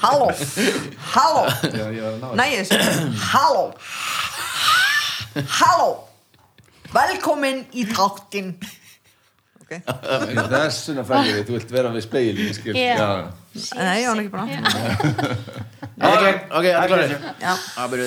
halló, halló Já, ég var að ná næ þessu, halló halló velkomin í þáttinn ok, þessu. Þessuna færðu þið, þú vilt vera við speilin, skil. Já. nei, ég var ekki bara Já. Ok, allir já,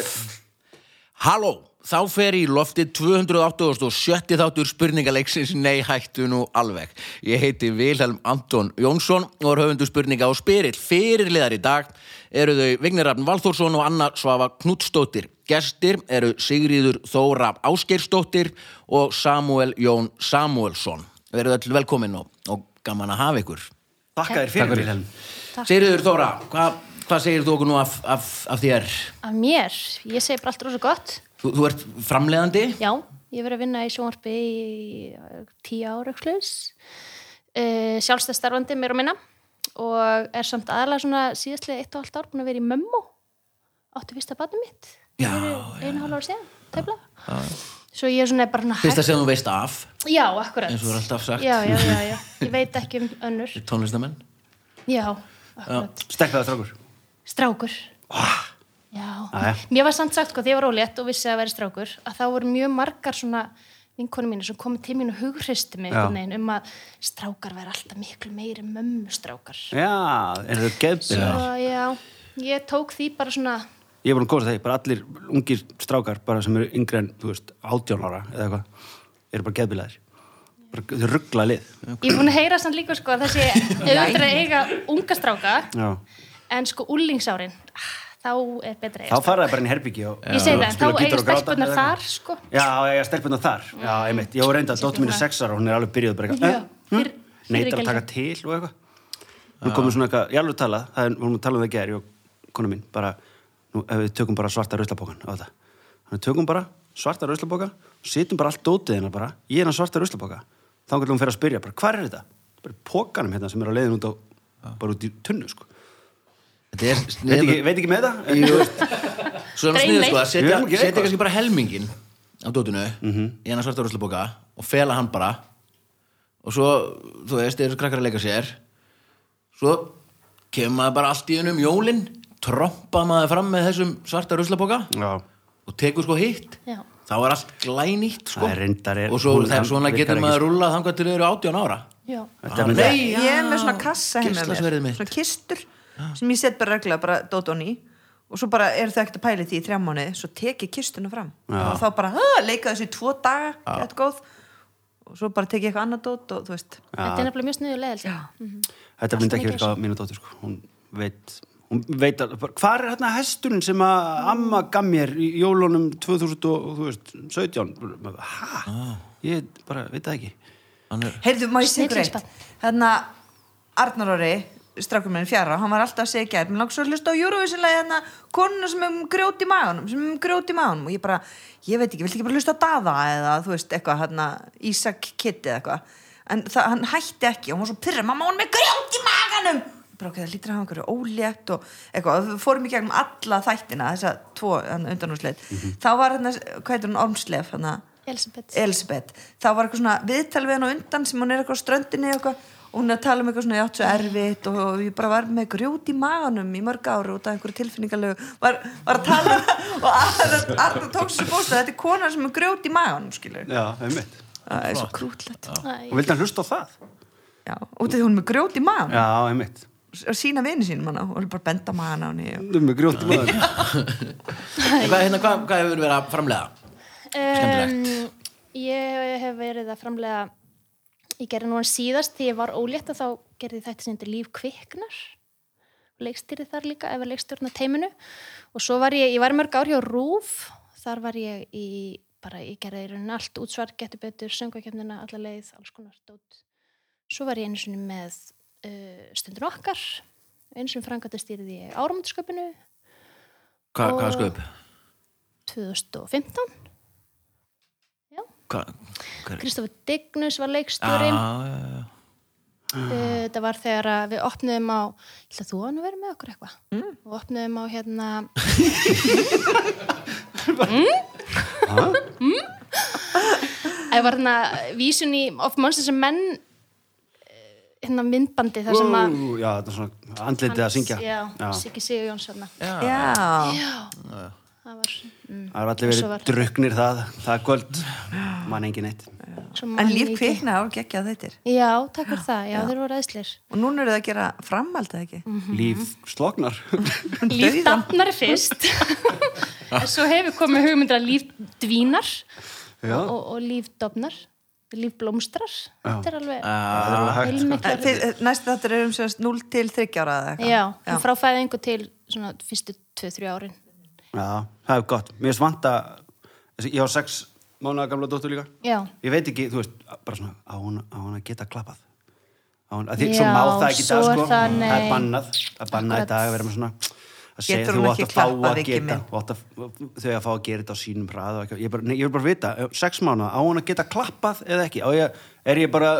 Halló, þá fer í lofti 287. þáttur spurningaleiksins Nei hættu nú alveg Ég heiti Vilhelm Anton Jónsson og er höfundu spurninga á spyrill Fyrirliðar í dag eru þau Vignirrafn Valþórsson og Anna Svava Knutsdóttir Gestir eru Sigríður Þóra Áskeirsdóttir og Samuel Jón Samuelsson Verðu öll velkomin og, og gaman að hafa ykkur Takk þér fyrir Vilhelm Sigríður Þóra, hvað hva segir þú okkur nú af, af, af þér? Af mér, ég segi bara allt rosa gott. Þú, þú ert framleiðandi? Já, ég hef verið að vinna í sjónvarpi í eh, tíu ára hlust. Uh, Sjálfstæð starfandi mér og minna og er samt aðalega svona síðastlega eitt og halvt ár búin að vera í mömmu. Áttu fyrsta batnum mitt. Já, Einu hálf ára síðan, tefla. Svo ég er svona bara svona Fyrsta sem þú veist af, Já, akkurat. eins og þú er alltaf sagt, Já, já, já, já. Ég veit ekki um önnur. tónlistamenn. Já, akkurat. Stekkaða strákur Strákur Já, mér var samt sagt sko, þegar ég var ólétt og vissi að vera strákur að þá voru mjög margar svona vinkonu mínu sem komið til mín og hughristi mig einhvern veginn um að strákar vera alltaf miklu meiri mömmu strákar Já, er þau geðbyrða Svo já, ég tók því bara svona Ég er búin að gósa þeir, bara allir ungir strákar bara sem eru yngri en, þú veist, 18 ára eða eitthvað, eru bara geðbyrðaðir Þau ruggla lið ég er búin að heyra samt líka sko að þessi auðvitað að eiga unga stráka Já. en sko úlingsárin þá er betra að Þá eiga fara þau bara inn í herbyggi og Ég segi það, spila þá gítar eiga og gráta stelpunar eða eitthvað. þar sko Já, eiga stelpunar þar Já, einmitt, ég var reynda að dóttu mínu Stelpurnar. sex ára og hún er alveg byrjuð bara Já, eitthvað fyrr- eh, Neitar fyrir að taka til og eitthvað Nú komum svona eitthvað, ég alveg tala það er, við vorum að tala um það ger, ég og konu mín bara, nú ef við tökum bara svarta ruslabokan á þetta, þannig að tökum bara svarta ruslaboka og setjum bara allt dótið hennar bara, ég er hann svarta ruslaboka þá hvernig hún fer að spyrja, bara hvar er þetta? bara í pokanum hérna sem er á leiðin út á bara út í tunnu, sko Þetta er veit sniður, ekki, veit ekki með það, en, þú veist, svo er hann sniður sko að setja, Við erum setja ekki eitthvað. Mhm. kannski bara helmingin á dótinu í hennar svarta ruslaboka og fela hann bara og svo, þú veist, þeir eru krakkar að leika sér svo kemur maður bara allt í hennu um jólin trompa maður fram með þessum svarta ruslaboka já, og tekur sko hitt Já. þá er allt glænýtt sko Það er reyndar er- og svo, hún- það er hann svona virkar getur ekki, sko. maður að rúla þangar til þau eru 18 ára Já, þetta Ah, er með nei. það ég er með svona kassa heim með geislasverðið mér mitt. svona kistur sem ég set bara regla bara dótón í og svo bara eru þau ekkert að pæli því í þrjá mánuði svo tek ég kistuna fram og þá bara "Ah, leika þessu í tvo daga gett góð og svo bara tek ég eitthvað annað dót og þú veist þetta er nefnilega mjög sniður leðild Þetta myndi ekki virka á mínu dóttir sko. hún veit, hún veit að, hvað er hérna hesturinn sem að amma gaf mér í jólunum 2017 hæ? Ég bara veit það ekki hann er Heyrðu, má ég segja ykkur eitt? Snillingsbarn. Hérna, Arnar Orri, strákur minn fjara, hann var alltaf að segja gær, mér langt svo að hlusta á Eurovision-lagi hérna, konuna sem er um grjót í maganum, sem er um grjót í maganum og ég bara, ég veit ekki, viltu ekki bara hlusta á Dada eða þú veist, eitthvað, hérna, Ísak Kitti eða eitthvað, en það, hann hætti ekki og hann var svo pyrra, mamma, hún er með grjót í maganum! Ég Bara ok, það lítur að hafa einhverju ólétt og eitthvað, og við fórum í gegnum alla þættina, þessa tvo undanúrsleitt, þá var hérna, hvað heitir hún, Ormslef, hérna, Elisabeth Elisabeth, þá var eitthvað svona viðtal við hann á undan sem hún er eitthvað á ströndinni og eitthvað, og hún er að tala um eitthvað svona ég átt svo erfitt og, og ég bara var með grjót í maganum í mörg ára út af einhverju tilfinningalegu var, var að tala um- og Arna, Arna tók sér bósta þetta er kona sem er grjót í maganum skilur Já, einmitt það er svo krútlegt já, Æ, Og vildi hann hlusta á það? út af því hún er með grjót í maganum Já, einmitt og sína vini sínum hana og hún er bara að benda magan á henni og... Með grjóti maður En Hvað, hérna, hvað, hvað hefur verið að framlega? Skemmtilegt. Um, ég hef verið að framlega ég gerði núna síðast því ég var ólétt og þá gerði ég þetta sem þetta líf kviknar leikstýrið þar líka ef að leikstjórna teiminu og svo var ég, ég var í mörg ár hjá RÚF þar var ég í bara, ég gerði í rauninni allt útsvar, getur betur, söngvakefnina alla leið, alls konar stótt svo var ég einu sinni með uh, stundin okkar einu sinni frangatist stýrið ég áramundasköpinu Hva, Hvað er sköp? 2015 Hva, hver, Kristofur Dignus var já, leikstjórin já, já. Eh, Þetta var þegar að við opnuðum á Ég ætla að þú að nú vera með okkur eitthvað mm. og opnuðum á hérna mm? Mm? Það var hérna vísun í of Monsters and Men eh, hérna myndbandi þar sem að Ú, já, þetta er svona andlitið að syngja já, já. Siggi Sigur Jónsson já, það var mm, Það er allir Svo var- verið druknir það það kvöld, mann engin eitt svo en man ég líf ekki- kvikna á geggja þettir já, takk fyrir það, já, þeir voru aðeinslir og núna eru það að gera framhald eða ekki Mm. Mhm. Líf sloknar líf Dauðan. dafnar fyrst en svo hefur komið hugmyndir að líf dvínar Já. og, og, og líf dofnar líf blómstrar þetta er alveg Það er alveg Eh, hægt, sko. heilmiklar fyrr- eh, næst þáttur er um sem sagt 0 til 30 ára eða eitthvað já, en frá fæðingu til svona fyrstu 2-3 árin Já, það er gott. Mér finnst vanta, ég á sex mánuða gamla dóttur líka. Já. Ég veit ekki, þú veist, bara svona, á hún, á hún að geta klappað. Á hún, að því, Já, svo má það ekki í dag, svo er sko. það, nei. er bannað, það er bannað í Akkurat. dag að vera með svona, að segja Getur hún þú átt ekki að fá klappað, að Viki geta, minn? þú átt að, þau að fá að gera þetta á sínum hrað og ekki. Ég, bara, nei, ég vil bara vita, eh, sex mánuða, á hún að geta klappað eða ekki? Á ég, er ég bara,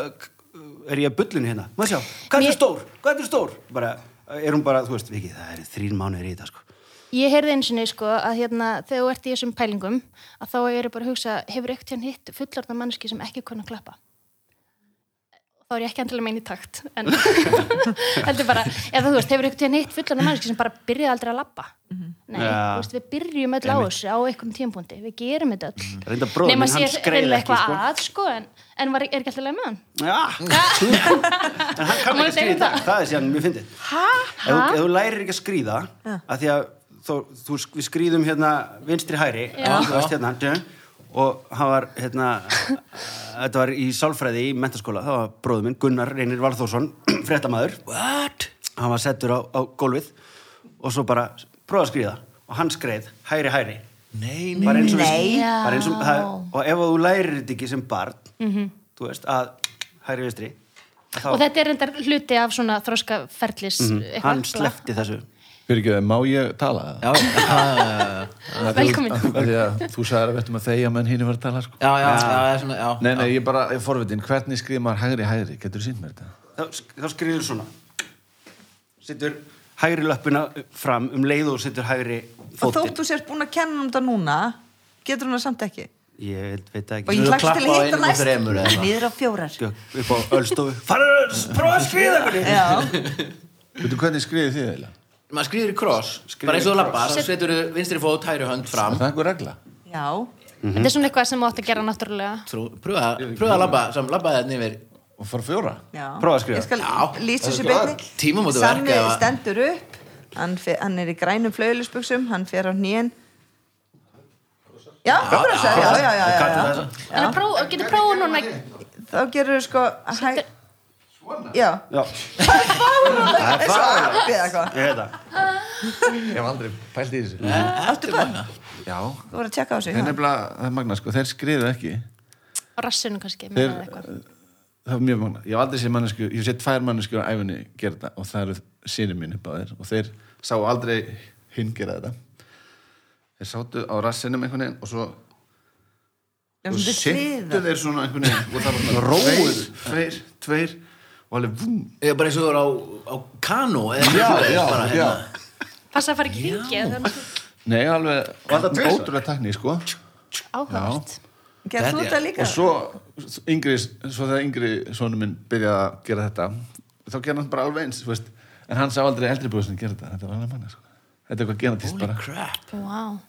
er ég að bullin hérna? Má sjá, hvað Mér- er stór? Hvað er stór? Bara, er hún bara, þú veist, Viki, það er þrín mánuðir í þetta, sko. Ég heyrði eins og neins sko að hérna þegar þú ert í þessum pælingum að þá er ég bara að hugsa hefur ekkert hérna hitt fullorðna mannski sem ekki kunna að klappa þá er ég ekki endilega meina í takt en heldur bara eða þú veist, hefur ekkert hérna hitt fullorðna mannski sem bara byrjaði aldrei að lappa Nei, Já. þú veist, við byrjum öll á þessu á einhverjum tímpúndi, við gerum þetta öll Reynda Mm. bróðir Nema minn, sé hann skreið hreinlega ekki, eitthvað sko. að sko en, en var, er ekki alltaf leið með hann Já, en hann kann Ah. Má ég ekki að segja um skríða það? Það er síðan mjög fyndið Hæ? Ef þú- ef þú lærir ekki að skríða að því að þó, þú, við skrýðum hérna vinstri hæri þú veist, hérna, dun, og hann var hérna þetta var í sálfræði í mentaskóla það var bróður minn, Gunnar Reynir Valþórsson fréttamaður What? hann var settur á, á gólfið og svo bara prófa að skríða og hann skreið hæri hæri Nei, bara eins og, Nei. við, bara eins og það, og ef þú lærir þetta ekki sem barn þú veist að hægri vinstri þá Mhm. Mhm. og þetta er endar hluti af svona þroskaferlis eitthvað sko. hann bla- slefti þessu Fyrir ekki það, má ég tala það? Já, já, Velkomin. Því að þú sagði að veitum að þegja menn hinn var að tala, sko. já, já, það er svona, já. Nei, nei, ég bara, ég forvitin, hvernig skrifir maður hægri hægri? Getur þú sínt mér þetta? þá, þá skriður svona sittur hægri löppuna fram um leið og sittur hægri og þótt fótinn þú sért búin að kenna um þetta núna getur hún það samt ekki ég veit og það ég ekki Þú hlagst klappa til að á hitta einum og næst þremur eða eitthvað. niður á fjórar Ég upp á ölstofu farðu að prófa að skriða hvernig já, Veitu hvernig skrifir þið eiginlega? Maður skrýður í kross, Skríður bara eins og í þú kross. lappar, þá setur þú vinstri fót, hægri hönd Er fram. það einhver regla? já, þetta Mhm. er svona eitthvað sem þú átt að gera náttúrulega Trú, pröfa, pröfa að labba, sem labbaði þetta yfir. Mhm. Og fara fjóra? já. Prófa að skrifa. ég skal Já. lýsa þessu Það er beinni Tímamótaverk Sammi eða- stendur upp hann, fer, hann er í grænum flauðlisbuksum hann fer á hnýjan já, brosar, já, já, já, já, já. En að prófa, getur prófa núna þá gerur þú sko hæ... já, já, eins og api eða eitthvað ég veit það Ég hef aldrei pælt í Eh, þessu. áttu bönn, Já, þú voru að tjekka á þessu það er já. nefnilega, það er magna, sko, þeir skrifir ekki. á rassunum kannski meina Þeir- eða eitthvað. það var mjög magna, ég hef aldrei séð mannesku ég hef séð tvær mannesku á æfunni gera þetta og það eru sinni mínu báðir og þeir sá aldrei hinn gera þetta þeir sátu á rassinum einhvern veginn og svo Já, og svona sittu hliðar. þeir svona einhvern veginn og það var svona róið tveir, tveir og alveg vum Ég er bara eins og þú er á, á kanó, eða eitthvað svoleiðis, bara hérna. Passa að fara ekki hringið þannig nei alveg, var það tvisvar? ótrúlega tekní sko áhugavert gerð þú Þetta- þetta líka og svo yngri, svo þegar yngri sonu minn byrjaði að gera þetta þá gerði hann bara alveg eins þú veist. en hann sá aldrei eldri bróður sem gera þetta þetta var alveg manna sko. þetta er eitthvað genetist bara Crap. Vá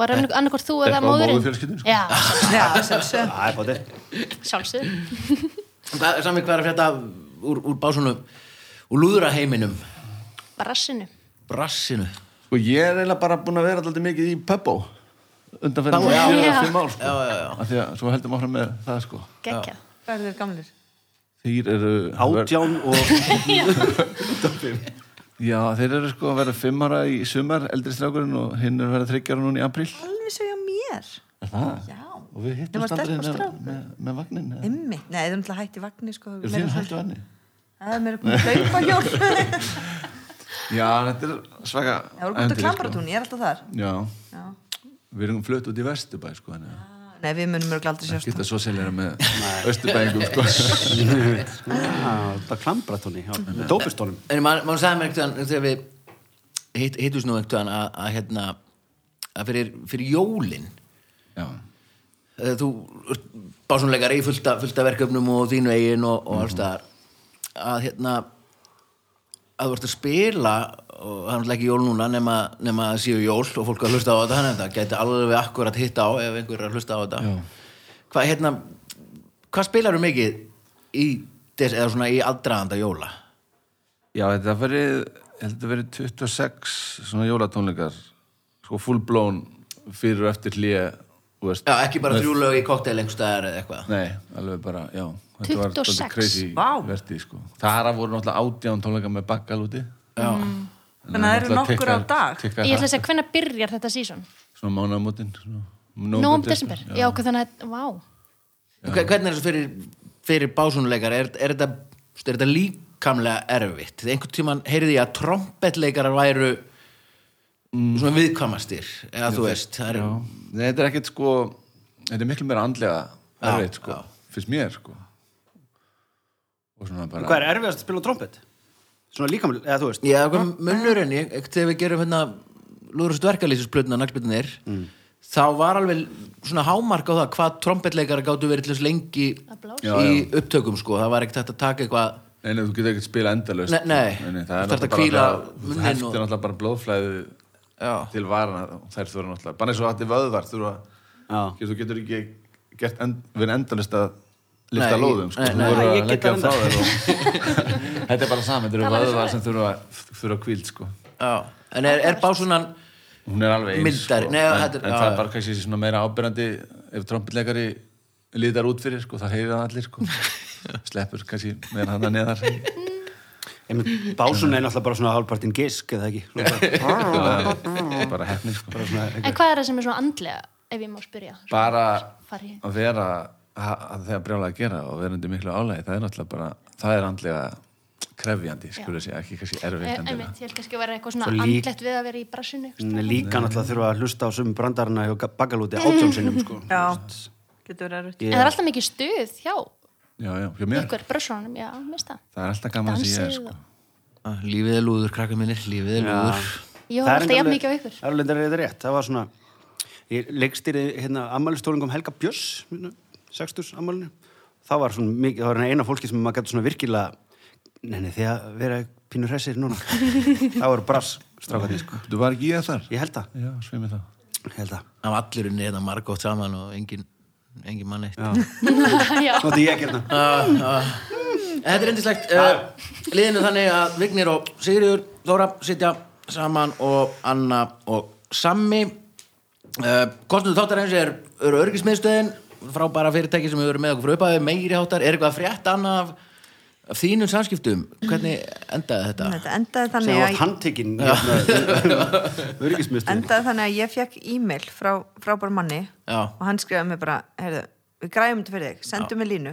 Var annarkvort þú eða Eitthvað á móðurinn? móðurfjölskyldunni, sko. Já, já, sem sem það er bótið sjálfsög Hvað- Sami, hvað er að frétta af- úr, úr básunum, úr lúðraheiminum, Bara rassinu brassinu? Sko ég er eiginlega bara búin að vera alltaf mikið í Pöbbó undanferðin Já, fjögur já. að fimm ár sko. Já, já, já. Af því að svo heldum áfram með það sko Gekja hvað eru þeir gamlir? þeir eru átján og já þeir eru sko að vera fimm ára í sumar eldri strákurinn og hinn er að vera þryggjara núna í apríl alveg svo hjá mér er það? Já. og við Nema hittum standarinn stelpa og með, strákur. með, með vagnin eða? Einmitt, nei, þeir eru náttúrulega hætti vagnir sko eru meira þín svona- hættu vanni? Það er mér að koma að hlaupa hjól Það já þetta er svaka voru komið að ævintýri, sko. klambaratún, ég er alltaf þar já Já. við erum flutt út í Vesturbæ sko þannig að Nei, við munum mörg aldrei sjást geta svo seljara með Östurbæingum sko Já, það klambrat honni með dópistónum En mann man sagði mér einhvern veginn þegar við hitt, hittust nú einhvern veginn að, að, hérna, að fyrir, fyrir jólin já Eh, þú ert básunleikari í fullta, fullta verkefnum og þínu eigin og, og alls staðar að hérna að þú ert að spila og það er náttúrulega ekki jól núna nema, nema að séu jól og fólk að hlusta á þetta þannig að þetta gæti alveg akkurat hitta á ef einhver er að hlusta á þetta Já. hvað hérna hvað spilarum mikið í des, eða svona í aðdraðanda jóla Já, þetta verið, ég held að verið 26 svona jólatónleikar sko full blown fyrir og eftir hlýja já ekki bara þrjú lög í koktel einhverstaðar eða eitthvað Nei, alveg bara, já Þetta var 26? dálítið crazy Vá. verti, sko. Það hara voru náttúrulega átján tónleika með bakkalúti já Þannig að það eru nokkur á dag. Ég ætla að segja, hvenær byrjar þetta sísón? Svona mánamótin Nóum Nóum desember? Já, ok, þannig að, vá. Hver- Hvernig er þetta fyrir, fyrir básunuleikar? Er, er, þetta, er þetta líkamlega erfitt? Þegar einhvern tímann heyrði ég að trompetleikarar væru svona viðkvamastir eða þú veist, það er, Já, Nei, þetta er ekkert sko Þetta er miklu meira andlega Já, erfitt sko, já. finnst mér sko og svona bara Hvað er erfiðast að spila á trompet? Svona líkamlega, eða þú veist Já, hvað munnurinn, ég, ekkert þegar við gerum hérna lúðurust verkalýsisplötuna, naglbyrnir mm. þá var alveg svona hámark á það hvað trompetleikara gáttu verið til þess lengi Að blása. Já, í upptökum sko, það var ekkert hægt að taka eitthvað Nei, nei, þú getur ekkert spila endalaust sko. Nei, nei. það er Þú þarft að náttúrulega hvíla bara- munninn Það heftir og- náttúrulega bara blóðflæðu Já. til varana og þær þurfa náttúrulega bara eins og þetta er vöðvar þurfa, Já. þú getur ekki gert end, verið endalaust að lifta Nei, lóðum sko. nei, nei. þú voru Ég að get leggja það frá þér og... Þetta er bara saman, þetta eru vöðvar sem þurfa, þurfa kvíld sko. Já. en er, er básunan Hún er alveg eins Mildari. sko. Nei, en, þetta er- en já, það já. er bara kannski svona meira ábyrrandi ef trompillegari lítar út fyrir sko, það heyrir það allir sko. Sleppur kannski meira hann að neðar Einmitt, Básun er náttúrulega bara svona hálfpartinn gisk eða ekki Svona bara- bara hefni sko. bara svona, En hvað er það sem er svona andlega, ef ég má spyrja? bara Fari. að vera að að þegar brjálega að gera og vera undir miklu álægi það er náttúrulega bara, það er andlega krefjandi, skulur þessi, ekki kannski Eh, erfitt En endilega. mitt, ég held kannski að vera eitthvað svona Svo lík- andlegt við að vera í brassinu. einhvers Nei, líka náttúrulega þurfa að hlusta á sömu brandarana hjá bakalúti átjónsinnum sko. Mm. Já, getur verið erfitt. En það er alltaf mikið stuð hjá já, já, hjá mér, ykkur brössunum, já, mista. það er alltaf gaman þessi ég er, Dansið sko. og- Ah, Lífið er lúður, krakka mínir, lífið er lúður Ég horf alltaf jafn mikið á ykkur. Það er alveg reyndar- reyndar rétt, það var svona ég leikstýri hérna ammælistólingum Helga Björns 60s ammælinu það var svona mikið, það var eina fólki sem maður gæti svona virkilega neini því að vera pínur hressir núna það voru brass strákarnir sko þú var ekki ég þar? ég held það, já, sveimi það ég held það Það var allur inni þetta hérna, margótt saman og engin, engin mann eitt Já, Nú ætti ég að gera það ah. Þetta er endislegt uh, liðinu þannig að Vignir og Sigriður Þóra sitja saman og Anna og Sammi uh, Kostnum þáttarins er, er örgismiðstöðin frábæra fyrirtæki sem við verum með okkur frá upphæðu meiri háttar, er eitthvað frétt Anna af, af þínum samskiptum hvernig endaði þetta? Þetta endaði sem þannig var að handtekinn hérna, öryggismiðstöðinni. endaði þannig að ég fekk e-mail frá frábær manni Já. og hann skrifaði mér bara, heyrðu, við græfum þetta fyrir þig, sendum mér línu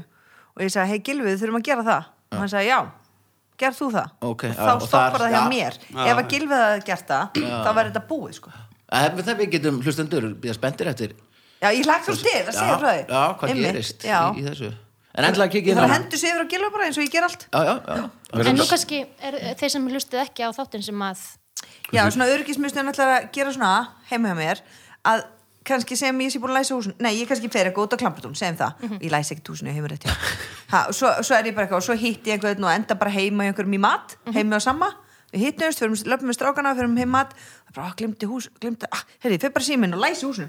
og ég sagði, hei Gilvi, við þurfum að gera það og hann sagði, já, gerð þú það Ok, og já, þá og stoppar þar- það hjá já. mér ef að Gilvi það gert það, þá var þetta búið sko. Það, það Eh, við getum hlustendur býða spenntir eftir já, ég lagt svo til að segja frá já, þig já, hvað Einmitt, gerist já. Í, í þessu En endilega ég kikið þarf að hendu sig yfir á Gilvi bara eins og ég ger allt Já, já, já en nú kannski er eh, þeir sem hlustið ekki á þáttin sem að já, svona örgismisnum ætlar að gera svona heima hjá mér að kannski sem ég sé búin að læsa húsin nei, ég kannski fer eitthvað út á klampratún, segjum það Mhm. ég læs ekkert húsinu heimur rétt hjá ha, og svo, svo er ég bara eitthvað og svo hitti ég einhvern og enda bara heima í einhverjum í mat, Mhm. heima og sama við hittumst, förum, löpum við strákana, förum heim í mat og bara, ah, glimti hús, glimti ah, heyrði, ég fer bara síminn og læsi húsinu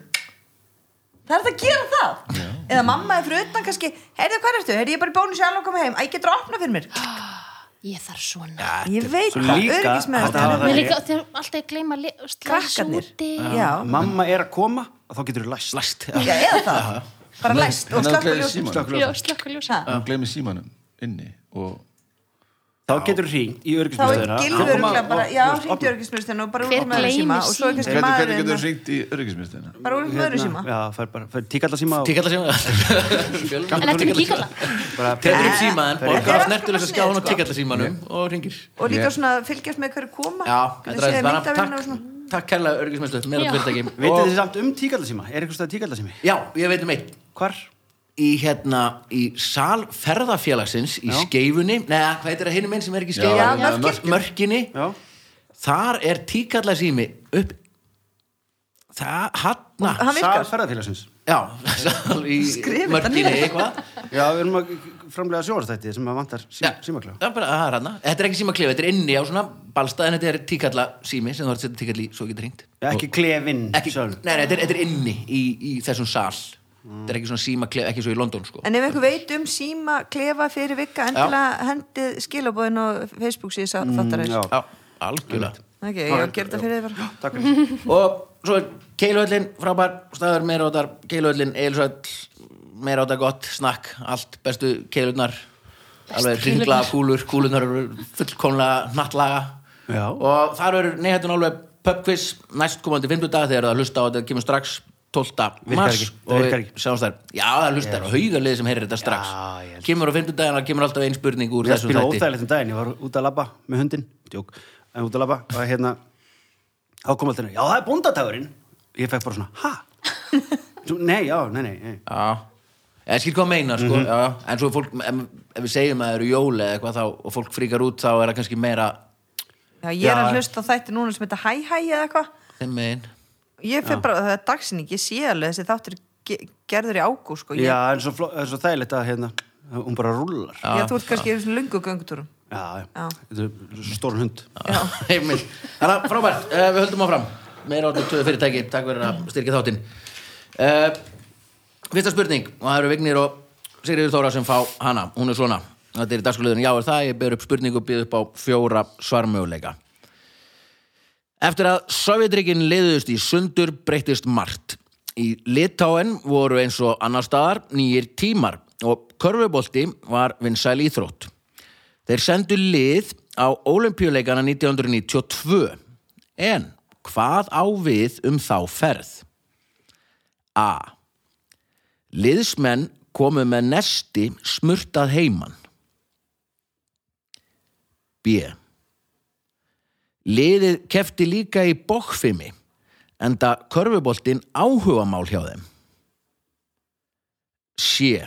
Það er það að gera það Eða mamma er fyrir utan kannski Heyrðu, hvað ertu? Heyrðu, ég er bara í bónu sjálf og koma heim Æ, getur að opna fyrir mér ég þarf svona. Ég veit Svo það, líka, örgismöður þetta hafa Mér það- líka þeir alltaf gleyma li- slæs Krakkarnir úti. Já, mamma er að koma og þá getur þú læst, læst. Já, eða það, bara læst og en það slökka er ljósin símanum. Já, slökkur ljósa. Ha. hún gleymi símanum inni og þá getur þú hringt í þá er öryggismiðstöðina gilfur örgulega bara, já, hringt í örgismurstinu og bara Hver úr með öðru gleymir síma og svo er símanum? kannski hvernig, hvernig maðurinn getur hérna. þú ringt í öryggismistina? bara úr með öðru síma já, fær bara, fær tíkalla síma og Tíkalla síma En þetta er ekki kalla. bara Tekur upp símaðan, Þetta er borgar alls á konar snertulega snið, skjáðan og sko. tiggalla símanum og ringir. og líka svona fylgjast með hverju koma Já, Hvernig þetta er séð bara myndavélina og takk, svona. takk kærlega örgismæslu Já. með þetta fyrirtæki. Vitið Og- þið samt um tíkallasíma? Er eitthvað stað tíkallasími? Já, ég veit um eitt. Hvar? Í hérna, í sal ferðafélagsins í Já. skeifunni, neða, hvað heitir það hinum einn sem er ekki í Já, skeifunni? Mörkin. Mörk- Mörkinni. Já. Þar er tíkalla sími upp, það, hann, Hann Sal virkar, ferðarfélagsins. já, í Skrifa þetta mörkinni niður. eitthvað Já, við erum að framlega sjóðarstætti sem að vantar sí, Já, símaklega. já, bara, það er hana. Þetta er ekki símaklefi, þetta er inni á svona balstað en þetta er tíkalla sími sem þú ert að setja tíkall í svo getur hringt Já, ekki klefinn ekki, nei, sjálf. nei, þetta, er, þetta er inni í, í þessum sal þetta er ekki svona símaklefi, ekki svo í London sko. En ef einhver veit um síma klefa fyrir vika endilega hendið skilabóðin og Facebook síðan mm, fattar já. þess já, algjörlega Ok, ég gerði þetta fyrir þér bara. Takk fyrir. og svo er keiluhöllin frábær staður meiráttar, keiluhöllin eilisöll, meiráttar gott snakk allt bestu keilurnar alveg ringla kúlur, kúlunar eru fullkomlega nattlaga Já. og þar eru neyhættun alveg pubquiz næst komandi fymtudag þegar það er að hlusta á þetta kemur strax 12. Virkar mars ekki, það og virkar við ekki. sjáumst þær já það er hlustar og haugarlið sem heyrir þetta strax Já, ég held. kemur á fymtudaginn og það kemur alltaf ein spurning úr Ég þessum spila þætti óþægilegt um daginn, ég var út að labba með hundin, djók, en út að labba og hérna, þá kom alltaf hérna, já, það er bóndatagurinn. Ég fekk bara svona, ha? Svo, Nei, já, nei, nei, nei. Já, ég skil hvað meina sko. já, en svo er fólk, ef, ef við segjum að það eru jóli eða eitthvað þá og fólk fríkar út þá er það kannski meira Já, ég er Já. að hlusta á þætti núna sem þetta hæ hæ eða eitthvað. þeim megin Ég fyrir bara, það er dagsinning, ég sé alveg þessi þáttur er ge- gerður í ágúst sko. Ég, Já, en svo, fló- en svo þægilegt að hérna, hún bara rullar. ég, þú ert kannski í þessum lungu göngutúrum. Já, já, Já. þetta er svo stór hund. Einmitt. Þannig að frábært, uh, við höldum áfram meira áttu töðu fyrirtæki, takk fyrir að styrkja þáttinn uh, Fyrsta spurning, og það eru Vignir og Sigriður Þóra sem fá hana, hún er svona Þetta er í dagskulegðin, já er það, ég ber upp spurningu og býð upp á fjóra svarmöguleika Eftir að Sovjetrygin liðust í sundur breyttist margt. Í Litáen voru eins og annar staðar nýjir tímar og körfubolti var vinsæl íþrótt. Þeir sendu lið á olimpíuleikana 1992. En hvað á við um þá ferð? A. Liðsmenn komu með nesti smurtað heiman. B. Liðið kefti líka í bókfimi enda körfuboltinn áhugamál hjá þeim. Sjö.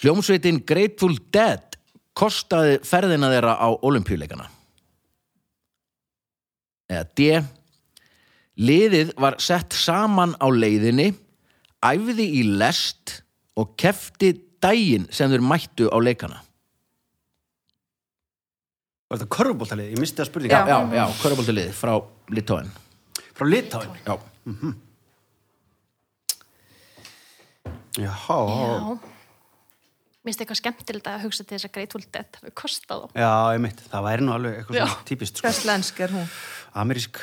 Hljómsveitin Grateful Dead kostaði ferðina þeirra á olimpíuleikana. Eða D. Liðið var sett saman á leiðinni, æfði í lest og kefti daginn sem þeir mættu á leikana. Var þetta körfubóltalið? Ég misti það spurninga. Já, já, já, körfuboltaliðið frá Litóin. Frá Litáin. Já. Já, Já. Mér finnst eitthvað skemmtilegt að hugsa til þess að Grateful Dead hafi kostað þá. já, ég mitt. Það væri nú alveg eitthvað Já. svona típist, sko. Hvers lensk er hún? Amerísk,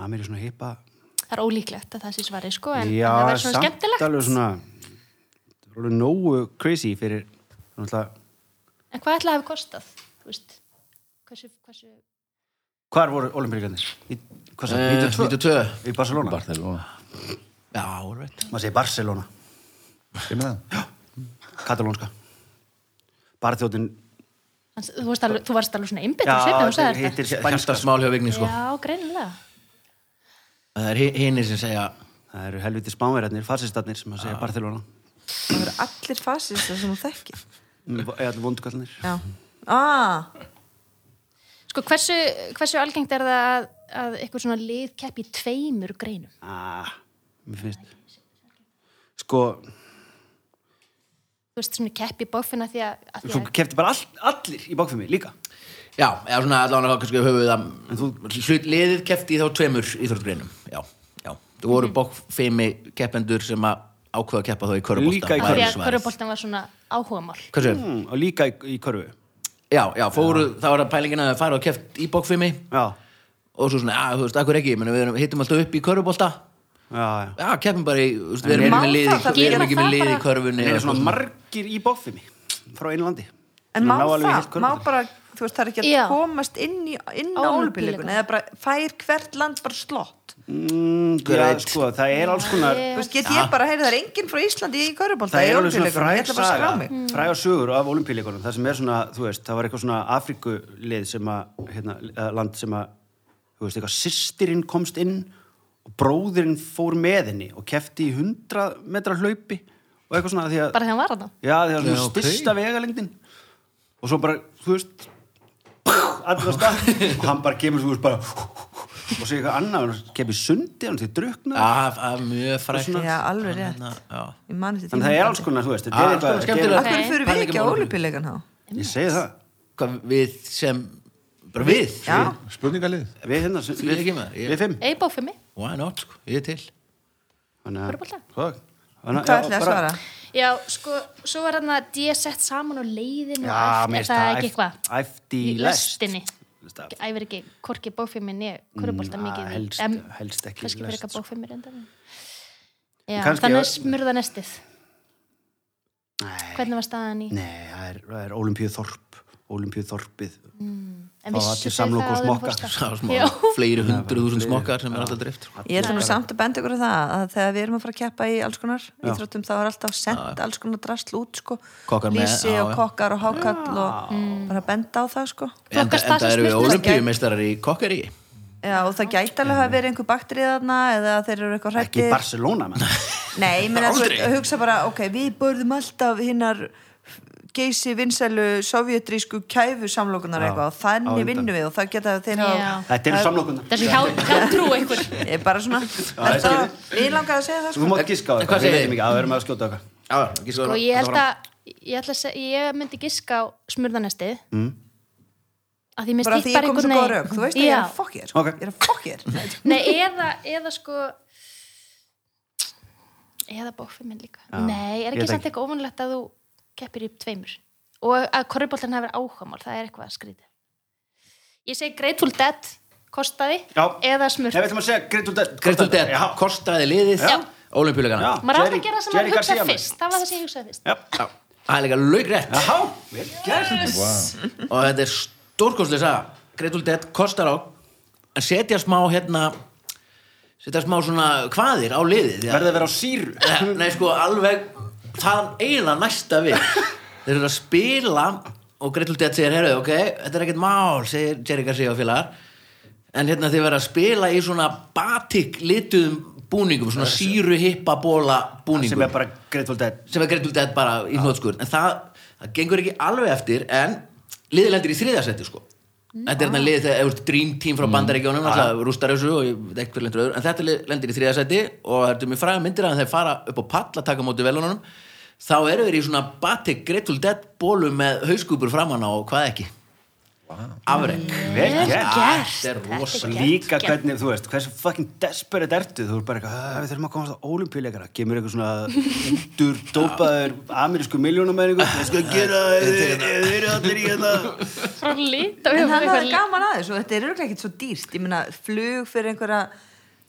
amerísk svona hippa. Það er ólíklegt að það sé svari, sko, en, Já, en það verður svona samt skemmtilegt. alveg svona, það er alveg nógu crazy fyrir, náttúrulega, En hvað ætlaði að hafi kostað? Þú veist, hversu, hversu... hvar voru olimpíuleikarnir? Í, hvað Eh, sagði, 92? 92. Í Barcelona? Barcelona Já, alright. Maður segir Barcelona, Kemur það? katalónska. Barþjóðin, hans- Þú, varst alveg, þú varst alveg svona einbyttur já, svipið um þetta sagði þetta. heitir spænska. Hjartarsmál hjá Vigni, sko. Já, greinilega. Það er hinnir sem segja Það eru helviti spánverðarnir, farsistarnir sem að segja Barcelona. Það eru allir fasistar sem hún þekkir. Eða allir vondukallinir. Já. Ah, Sko, hversu, hversu algengt er það að, að eitthvað svona lið keppi í tveimur greinum? Ah, mér finnst. Sko, Þú veist, svona keppi í bófina því að... að því svo að kefti bara all, allir í bakfið mig líka. Já, eða svona allan að kannski höfuð að hlut liðið kefti í þá tveimur íþróttgreinum Já, já, þú Mhm. voru bókfimi keppendur sem að ákveða að keppa þá í Líka körubólta í að því að köruboltan var svona áhugamál. Hversu? Mhm. Mm, og líka í, í körfu. Já, já, fóru, þá var það pælingin að þau fara og keft í bókfimi Já, og svo svona, að þú veist, akkur ekki, meni, við erum- hittum alltaf upp í körubólta já, já. Já, keppum bara í, þú veist, við En erum má ekki með liði það, það við erum gerir ekki það með liði í bara- körfunni Það eru eða svona eitthvað margir í bakfið mig frá einu landi. en má Ná alveg í heilt það, má körfubolta. bara, þú veist, það er ekki að Já. komast inn, í, inn á Á olbíleikun Ólympíuleikana. eða bara fær hvert land bara slott. Mm, Hver já, veit? sko, það er alls konar... Þú veist, get ég bara að heyra það er enginn frá Íslandi í körubólta í Það er alveg svona ólympíuleikunum, ég fræg ætla bara að saga, skrá mig. fræg sögur af olimpíuleikunum, það sem er svona, þú veist, það var eitthvað svona Afrikulið sem að, hérna, eh, land sem að, þú veist, eitthvað systirinn komst inn og bróðirinn fór með henni og kefti í 100 metra hlaupi og eitthvað svona því að, Bara því að hann var hann já, því að það Já, var ok. svona styrsta vegalengdin og svo bara, þú veist, allir á stað og hann bara kemur, þú veist, bara og svo eitthvað annað, hann kemur sundi hann til drukna, af, af mjög Mm. frækt Já, alveg rétt. Þannig að- já. Ég man eftir hérna, þannig að það er alls konar þú veist, þetta Ah, er alls konar eitthvað skemmtilegt. Af hverju fyrir við Pæling ekki í á málinu. olupillegan þá? ég segi það Hvað við sem bara við, Já, Spurningalið. við hérna, Því við, ekki maður, ég- við fimm Ei, bók fyrir mig. why not, sko, ég er til þannig Körfubolta. að hvað Þannig hvað ætlaði að bara- svara? Já, sko, svo var hann að D sett saman á leiðinu og Já, æft- er mér finnst það það ekki eitthvað? æfti Í lestinni. Lestinni. Æfir ekki hvorki bófimmi niður körubólta Mm, mikið. að helst- Em, helst ekki í Kannski fyrir lest, eitthvað sko. bófimmi reynda. Já, Kannski- þannig að smurða nestið. Nei. Hvernig var staðan í? Nei, það er, það er Ólimpíu Þorp Ólimpíu Þorpið En Fá vissu allir þau samlok það áður en og smokka. fórst að- Sá smá Já. fleiri hundru þúsund smokkar sem er alltaf drift sko. Ég ætla nú samt að benda ykkur á það að þegar við erum að fara að keppa í alls konar íþróttum þá er alltaf sendt alls konar drasl út sko. Kokkar með, Lýsi já, og já. kokkar og hákall og bara benda á það sko. en, Flokkast það en það sem eru við snillt? olimpíumeistarar í kokkari Já, og það gæti alveg að vera einhver baktrið þarna eða þeir eru eitthvað Ekki hrættir. Barcelona menn. Nei, menn að Aldrei. hugsa bara, ok, við börðum alltaf hinnar geysi vinsælu sovjetrísku kæfu samlokunar Já, eitthvað og á þannig undan. vinnum við og það geta þeir hafa Já. Þetta eru samlokunar Það er hjá- hjátrú einhver. Ég er bara svona, ég þetta, ég langar að segja það Þú sko. mátt gíska á En hvað þetta, segir við þið? veitum ekki að við erum að skjóta okkar Sko, ég held að, ég, ætla að seg, ég myndi giska á smurðanestið. Mm. Að því mér Bara stýtt því bara ég kom svo einhvern góð veginn- rauk, þú veist að ég er Já. að fokkja þér, Ok. sko. ég er að fokkja þér. Nei, eða, eða sko eða bókfimmin líka Nei, er ég ekki veit samt ekki. eitthvað óvanlegt að þú keppir í tveimur og að korriboltan hafi áhugamál, það er eitthvað að skrýta Ég segi Grateful Dead kostaði, Já. eða Nei, smurt við ætlum að segja Gretul Dead Kristal Dett, Já, kostaði liðið Já. olimpíuleikana Já. maður átt Jerry- að gera sem Jerry maður hugsaði Garcia, maður. fyrst það var það sem ég hugsaði fyrst já það er líka laugrætt Jaha, vel gert og þetta er stórkostlega saga Gretul Dead kostar á að setja smá hérna setja smá svona hvaðir á liðið því að- Verðið að vera á síru Nei, nei, sko, alveg það eiginlega næsta við þeir eru að spila og Gretul Dead segir, heyrðu, ok, þetta er ekkert mál segir Jerry Garcia og félagar en hérna þeir verða að spila í svona batik lituðum búningum svona síru hippa bóla Sem búningum er bara Gretul Dead sem er Gretul Dead bara í hnótskurð en það, það gengur ekki alveg eftir en liðið lendir í þriðasetti sko þetta er hérna liðið þegar eða, Dream Team Mm, frá bandaríkjónum ah. alltaf rústar þessu og ég veit ekki hver lendur öðru en þetta lið lendir í þriðasetti og þetta er mjög fræða myndir að þeir fara upp á pall að taka á móti velunum þá eru þeir í svona batik Gretul Dead bólu með hauskúpur framann á og hvað ekki afreg Vel gert þetta er rosa Og líka hvernig, þú veist, hversu fucking desperate ertu Þú er bara eitthvað, "Ah, við þurfum að komast á ólimpíuleikara Gemur eitthvað svona útur dópaður amerísku miljónumæringu Það skal gera, þið eru allir í hérna." þetta frá lít og En það hefur er eitthvað gaman aðeins og þetta er auðvitað ekkert svo dýrt. Ég meina, flug fyrir einhverja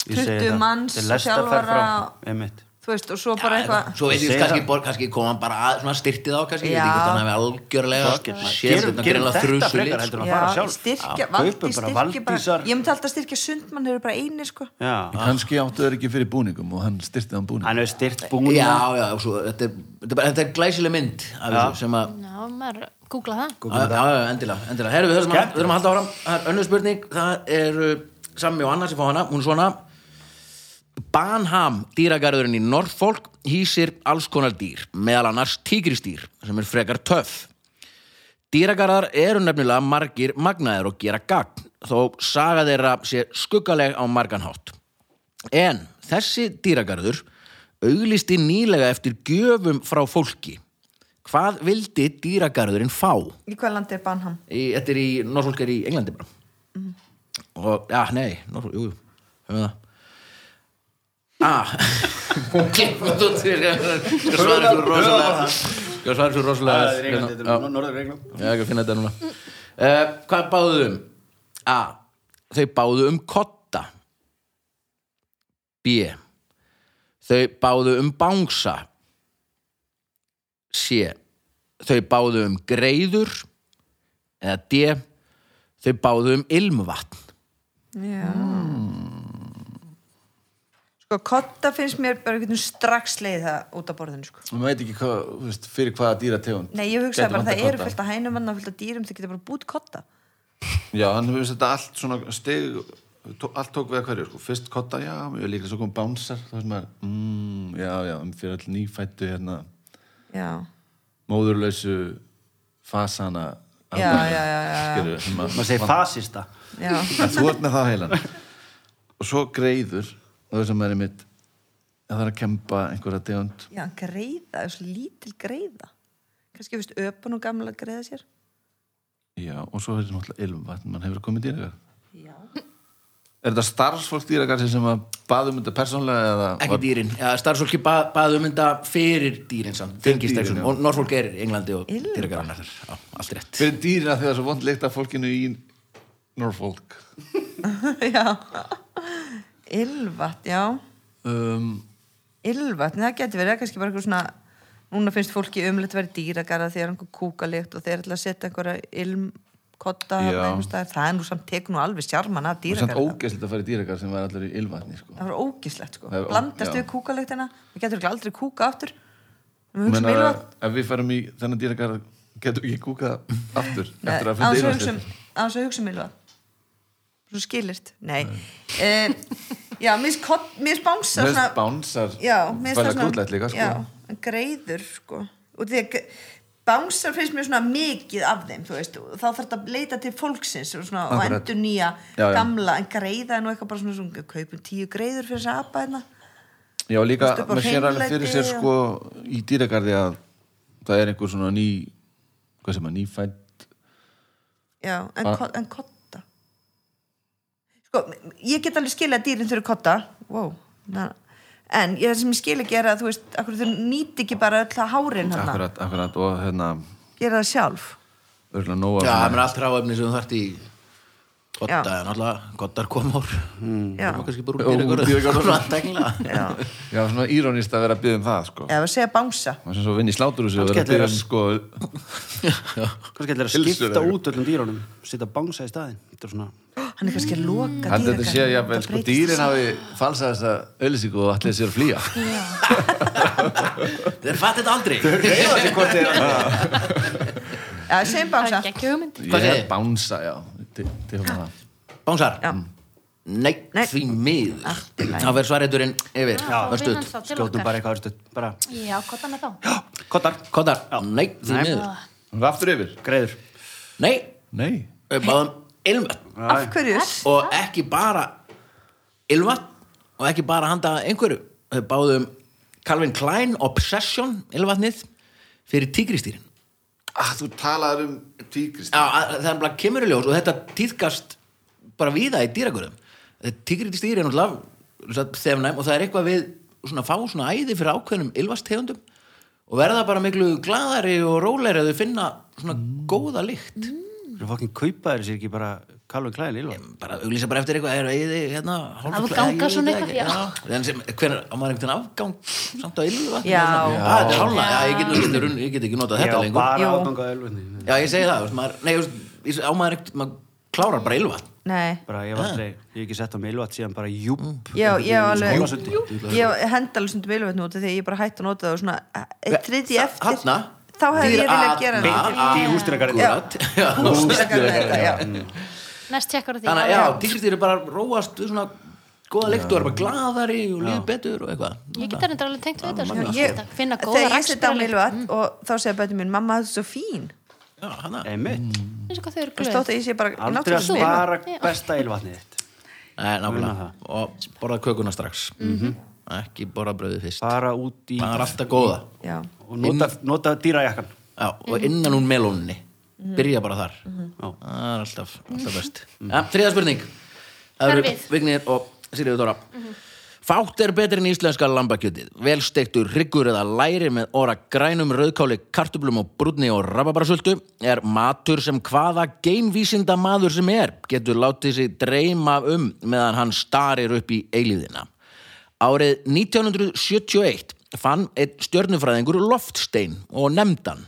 Ég segi 20 það. manns, Þetta er lestarferð þjálfara, frá- einmitt. þú veist, og svo bara eitthvað. svo veit ég Segir kannski, það. bor, kannski kom hann bara að, svona styrtið á kannski, ég Já. veit ekki hvort hann hefði algjörlega séð Gerum þetta gerum greinlega þetta þrjusu frekar lit heldur sko. en að Já, fara sjálf styrkja, Já, valdi, kaupum bara styrkja bara, Valdísar. ég myndi alltaf styrkja sundmann hefur bara einir sko. Já, Kanski áttu þeir ekki fyrir búningum og hann styrtið hann búning. hann hefur styrt búin já, já, og svo, þetta, er, þetta, er, bara- þetta er glæsileg mynd af þessu sem að Já, maður googla það Já, já, já, endilega, endilega. Herru, við þurfum að, þurfum að halda áfram. Það er önnur spurning, það er uh, Sammi og Anna sem fá hana, hún er svona Banham, dýragarðurinn í Norfolk, hýsir alls konar dýr, meðal annars tígristýr, sem er frekar töff. Dýragarðar eru nefnilega margir magnaðir og gera gagn, þó saga þeirra sé skuggaleg á margan hátt. En þessi dýragarður auglisti nýlega eftir gjöfum frá fólki. Hvað vildi dýragarðurinn fá? Í hvað landi er Banham? í, þetta er í Norfolk er í Englandi bara Mhm. og, já, nei Norfolk, jú, jú, höfum við það ah klipp út út ég skal svara svo rosalega ég skal svara svo rosalega Það er hérna, England, Ah, þetta er norður England já, ég skal finna þetta núna uh, hvað báðu þau um? a, þau báðu um kotta b þau báðu um bangsa c þau báðu um greiður eða d þau báðu um ilmvatn Já. Sko, kotta finnst mér bara einhvern veginn strax leið það út af borðinu sko. Maður veit ekki hvað, þú veist, fyrir hvaða dýrategund. Nei, ég hugsaði gæti bara að það vantað eru kodda. fullt af hænum og fullt af dýrum, þau geta bara búið kotta. Já, hann hefur þetta allt svona steg, tó, allt tók við að hverju, sko. Fyrst kotta, já, mjög líka, svo kom bánsar, þá veist maður, mm, já, já, um fyrir all nýfættu hérna, Já. móðurlausu fasana. Já, já, já, já, já. Skilur, sem að- Maður segir fasista Já. En þú ert með það heilan. og svo greiður og það sem er einmitt að það er að kempa einhverja tegund Já, greiða, þessu lítil greiða. Kannski fyrst öpun og gamla greiða sér. já, og svo er þetta náttúrulega ilmvatn mann hefur komið dýragar Já. er þetta starfsfólk dýragar sem að baðum þetta persónlega eða ekki dýrin, ja, starfsfólki ba baðum mynda fyrir dýrin samt, Fyrir tengist dýrin, dýrin, já. og Norfolk er í Englandi og Ylfa. dýragarðanar, já, allt rétt fyrir dýrina þegar það er svo vond lykt af fólkinu í Norfolk já. Ylvat, já. um, Ylvat, það getur verið, það er kannski bara eitthvað svona, núna finnst fólki umlegt verið dýragarða þegar einhver kúkalikt og þeir ætla að setja einhverja ilmkotta Já. þarna einhvers staðar. það er nú samt tekur nú alveg sjarman að og samt dýragarða ógeðslega að fara í dýragar sem var allir í ilmvatni sko. það var ógislegt sko, Það er ó- blandast já. við kúkaliktina við getur ekki aldrei kúka aftur við Ég hugsaum meina, ylvat ef við farum í þennan dýragar getum við ekki kúkað aftur eftir að Án þess fyrir að dýragar hugsa um- án þess að hugsa um Ylva svo skilirt, nei uh, já, mér finnst kott- mér finnst bánsa Mér svona, finnst bánsar já, mér finnst fæla grútlegt líka sko. já, en greiður sko og því að g- bánsar finnst mér svona mikið af þeim, þú veist, og þá þarf þetta að leita til fólksins og svona, og Akkurat. endur nýja Já, já. gamla, en greiða er nú eitthvað bara svona, svona kaupum tíu greiður fyrir þess að apa hérna Já, Þú líka, veist, upp á maður sér alveg hreinlæti fyrir sér og- sko í dýragarði að það er einhver svona ný hvað sem að nýfætt já, en, Ba- ko en kotta sko, ég get alveg skilja að dýrin þurfi kotta wow. na- en ég, það sem ég skil ekki er að þú veist, akkur þau nýti ekki bara alltaf hárin hann, akkurat, akkurat og hérna gera það sjálf örgulega nóa já, það er allt ráefni sem þú þart í Já. Kotta, er náttúrulega, kottar koma úr mm. já, kannski bara Já, úr úr dýragarðanar dýragarðinum. að tengla já, já, svona írónist að vera að byggja um það sko eða segja bánsa maður sem svo vinn í sláturhúsi og vera að Kannski byggja ætla um sko kannski ætlar að Pylsur skipta eða eitthvað. út öllum dýrunum setja bangsa í staðin þetta er svona hann er kannski að loka hann þetta sé dýragarðinum, að jafnvel það sko breytist dýrin í- hafi falsað þessa öllisíku og allir sér að flýja þeir fatt þetta aldrei já, segjum Það bánsa er ekki hugmynd. ég Hvað er segir? bánsa, já til, til hérna. hún það Bánsar? Já. Nei, Nei. því miður Allt í lagi. þá verður svarætturinn yfir Já, þá vinn Var hann stutt. þá til skjótum bara okkar. eitthvað örstuð bara Já, hvað þannig þá? kottar Kottar? Nei, því miður hún er aftur yfir greiður Nei, nei við báðum ilmvatn af hverju og ekki bara ilmvatn og ekki bara handa einhverju við báðum Calvin Klein Obsession ilmvatnið fyrir tígristýrin ah, þú talaður um tígrist Já, að- það er bara kemur í ljós og þetta týðkast bara víða í dýragörðum tígriti stýri er náttúrulega þefnæm og það er eitthvað við svona fá svona æði fyrir ákveðnum ylvastegundum og verða bara miklu gladari og rólegri að þau finna svona góða lykt þú fokkin kaupa þér sér ekki bara Calvin Klein Ylva bara auglýsa bara eftir eitthvað er æði hérna hálfklæði, Afgangar ég veit svona það eitthvað, ekki, já. En sem, hvernig, á maður einhvern afgang samt á ylva Já. Ah, þetta er hálfa, já, ég get, nú- ég get, ég get ekki notað þetta já lengur bara Jú. aðgangað Ylva já, ég segi það, þú veist, maður, nei, þú veist, ég segi- á maður ekkert maður klárar bara ylva nei bara ég var aldrei ég hef ekki sett á mig Ylva síðan bara júp Já, ég hef alveg, Skólasundi. ég henda alveg stundum ylvetn út af því að ég bara hætti að nota það og svona e- eitt þriði eftir, Hanna þá hefði ég viljað gera það. Í húsdýragarðinum. Húsdýragarðinum þetta, já. Næst tekkar á því. Þannig að já, tígristýri bara róast við svona góða lykt og er bara gladari og líður betur og eitthvað Ég geta reyndar alveg tengt við þetta, sko. Ég, Þetta, finna góða Mm. þegar ég setja á mig ylvetn og þá segja bæti mín, mamma það er svo fín. Já, hana einmitt Eins og hvað þau eru Það glöð. stótt að ég sé bara í aldrei að náttúrulega svona ylvatn. spara besta Ylvatnið þitt Nei, nákvæmlega Muna Og borða kökuna strax Ekki borða bröðið fyrst bara út í Það er alltaf góða Já, og nota, nota dýrajakkan já, Og innan hún melónni Byrja bara þar Já. Það er alltaf, alltaf best ja, Þriða spurning Hvar Það eru við? Vignir og Sýriður Dóra Fátt er betur en íslenska lambakjötið. Velstektur hryggur eða læri með óra grænum rauðkáli, kartublum og brúnni og rababarasöldu er matur sem hvaða geimvísinda maður sem er getur látið sig dreyma um meðan hann starir upp í eilíðina. Árið 1971 fann einn stjörnufræðingur loftstein og nefndan.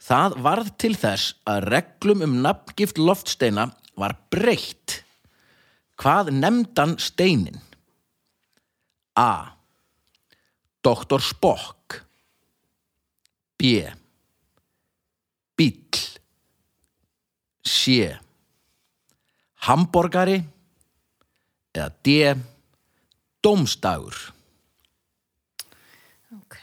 Það varð til þess að reglum um nafngift loftsteina var breytt. Hvað nefndan steinin? A. Doktor Spock B. Bíll C. Hamborgari eða D. Dómstagur Ok.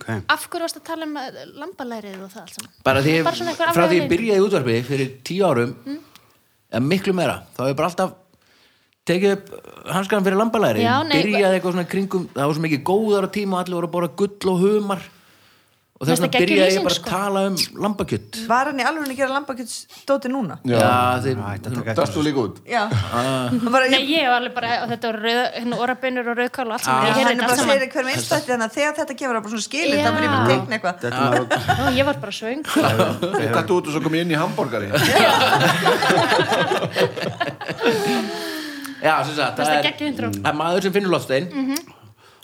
okay. Af hverju varst að tala um eh, lambalærið og það allt saman? Bara því, Bara svona einhver Mm. frá því afvegaleiðing. ég byrjaði í útvarpi fyrir tíu árum eða miklu meira, þá hefur bara alltaf tekið upp hanskan fyrir lambalæri Já, nei, byrjaði eitthvað svona kringum það var svo mikið góðar á tíma og allir voru að bora gull og humar og þess Mér finnst vegna það geggjuð byrjaði lýsing, ég bara sko. að tala um lambakjött Var hann í alveg að gera lambakjötsdóti núna? Já, þeir, Ætti að taka eftir Dast þú líka út? Já Ah. Hann bara, Nei, ég, ég var alveg bara, og þetta var rauð, hérna, orabeinur og rauðkál og allt Ah. saman, ég heyrði hann er þetta bara að allt saman. segja hver með einstætti þannig að þegar þetta gefur hann bara svona skilin Já. þá vil ég bara teikna eitthvað Þetta var Nú, ég var bara svöng. Ég dættu út og svo kom ég inn í hambúrgari já, sem sagt, Fannst það það geggjuð er, intro. Mhm. það er maður sem finnur lofstein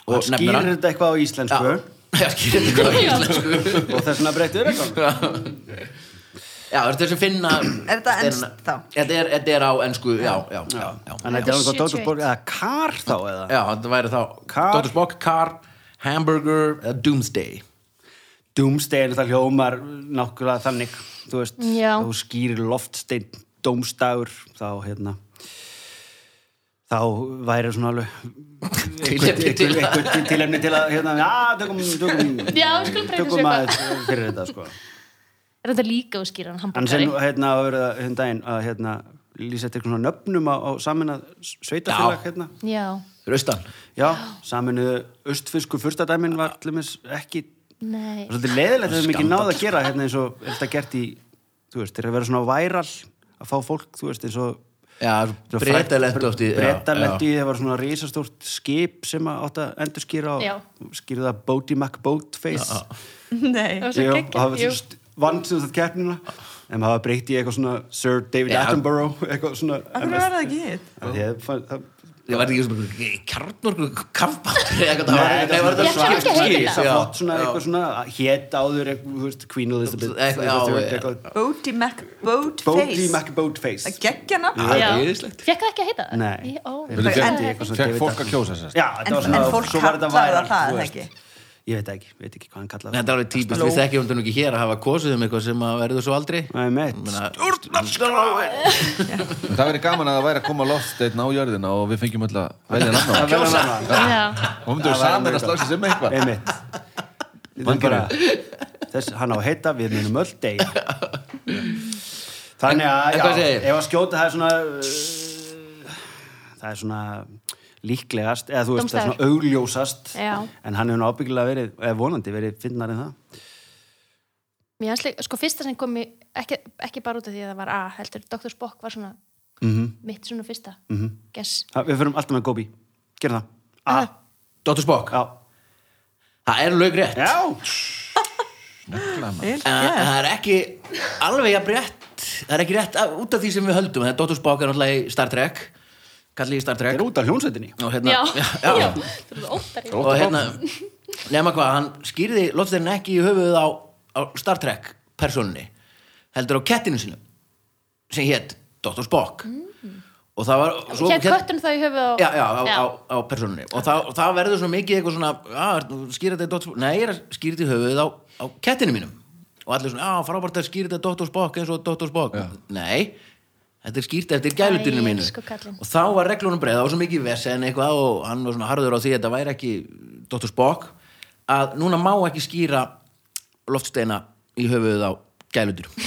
og og nefnir skýrir hann þetta eitthvað á íslensku Já, já, skýrir þetta á Já. íslensku og þess vegna breytið þetta Já, þetta er sem finna Er þetta enskt steinana. þá? Þetta er, þetta er á ensku, já, já, já, já. þannig að þetta er eitthvað Dóttursborg eða Kar þá eða Já, þetta væri þá Kar- Dr. Spock, Car, Hamburger eða Doomsday Doomsday er það hljómar nákvæmlega þannig þú veist, Já. þú skýrir loftstein Dómstagur þá hérna þá væri svona alveg eitthvað- Tilefni til eitthvað eitthvað tilefni til að hérna, já, tökum, tökum Já, við skulum breyta þessu tökum að fyrir þetta sko Er þetta líka úr skýran annars er hambúrgari? nú hérna að vera hérna daginn að hérna lýsa eftir svona nöfnum á, á saminað sveitafélag Já. hérna Já. Raustan Já, saminuðu östfisku furstadæmin var allumis ekki Nei. það er svolítið leiðilegt að við mikið náða sko. að gera hérna eins og er þetta gert í, þú veist, þeir að vera svona væral að fá fólk, þú veist, eins og Já, breytalegt oft í já, Breytalegt í, það var svona risastórt skip sem að átt að endurskýra Já. og skýra það Bodie McBoatface Nei Það var Jú, svo og hafa geggjur, jú. st- vann sem það keppnina en hafa breytt í eitthvað svona Sir David Já. Attenborough eitthvað svona Akkur var það ekki hitt Af því að fann- það- Ég var ekki svona Kjarnorku kampbáttur eða eitthvað það var- Nei, Nei, var Ég þetta ætla svona- ekki að heita skýr, það já, er flott svona já. eitthvað svona hétt áður eitthvað, þú veist, Queen Elizabeth Eitthvað, já, þú veist, já. eitthvað Bodie Mac Bodie Boatface McBoatface Það geggja nafn Það Já. er yðislegt. Fekk það ekki að heita það? Nei. Ég- Ó, Við Fekk- það en- er ekki. Fekk fólk að kjósa sérst Já, En- þetta var svona en fólk svo var þetta kallaði væral, það, þú það veist. ekki? Ég veit ekki, veit ekki hvað hann kallaði Þetta er alveg típist, við þekkjum þetta nú ekki hér að hafa kosið um eitthvað sem að verður svo aldrei Nei, mitt Stjórnarskráin En Það verið gaman að það væri að koma loftsteinn á jörðina og við fengjum öll að velja nafna Það verður hann Já. Og myndum við Það væri saman mjög að slagsins um eitthvað Nei, mitt Þetta er bara Þess, hann á að heita, við munum öll deg Þannig En- en að, hvað já, segir? ef að skjóta það er svona uh, Það er svona líklegast, eða þú veist, það er svona augljósast Já. En hann hefur nú ábyggilega verið, eða vonandi verið finnar en það Mér hans leik, sko fyrsta sem kom í, ekki, ekki bara út af því að það var A, heldur Dr. Spock var svona Mhm. mitt svona fyrsta. Mm -hmm. Guess. Ha, Við förum alltaf með Gobi, gerum það ah, Dr. Spock, Já, það er lög rétt já. Vel En gert. það er ekki alveg að brett það er ekki rétt að, út af því sem við höldum það er Dr. Spock er náttúrulega í Star Trek kallið í Star Þeir Trek eru út af hljónsetinni og hérna, Já. já, Já. Það er óttar í. og hérna nema hvað, hann skýrði loftstæðin ekki í höfuðið á, á Star Trek persónunni, heldur á kettinu sinu sem hétt Dr. Spock og það var svo- Hér hélt- köttun það í höfuð á... já, já, á, á, á persónunni og það, það verður svona mikið eitthvað svona já, skýra þetta í Dr. Spock nei, ég er að skýra þetta í höfuðið á, á kettinu mínum og allir svona, já, frábært að skýra þetta Dr. Spock eins og Dr. Spock nei, þetta er skýrt eftir gælutinu Æ, mínu sko kallinn. og þá var reglunum breið, það var svo mikið vesen eitthvað og hann var svona harður á því að þetta væri ekki Dr. Spock að núna má ekki skýra loftsteina í höfuðið á gælutur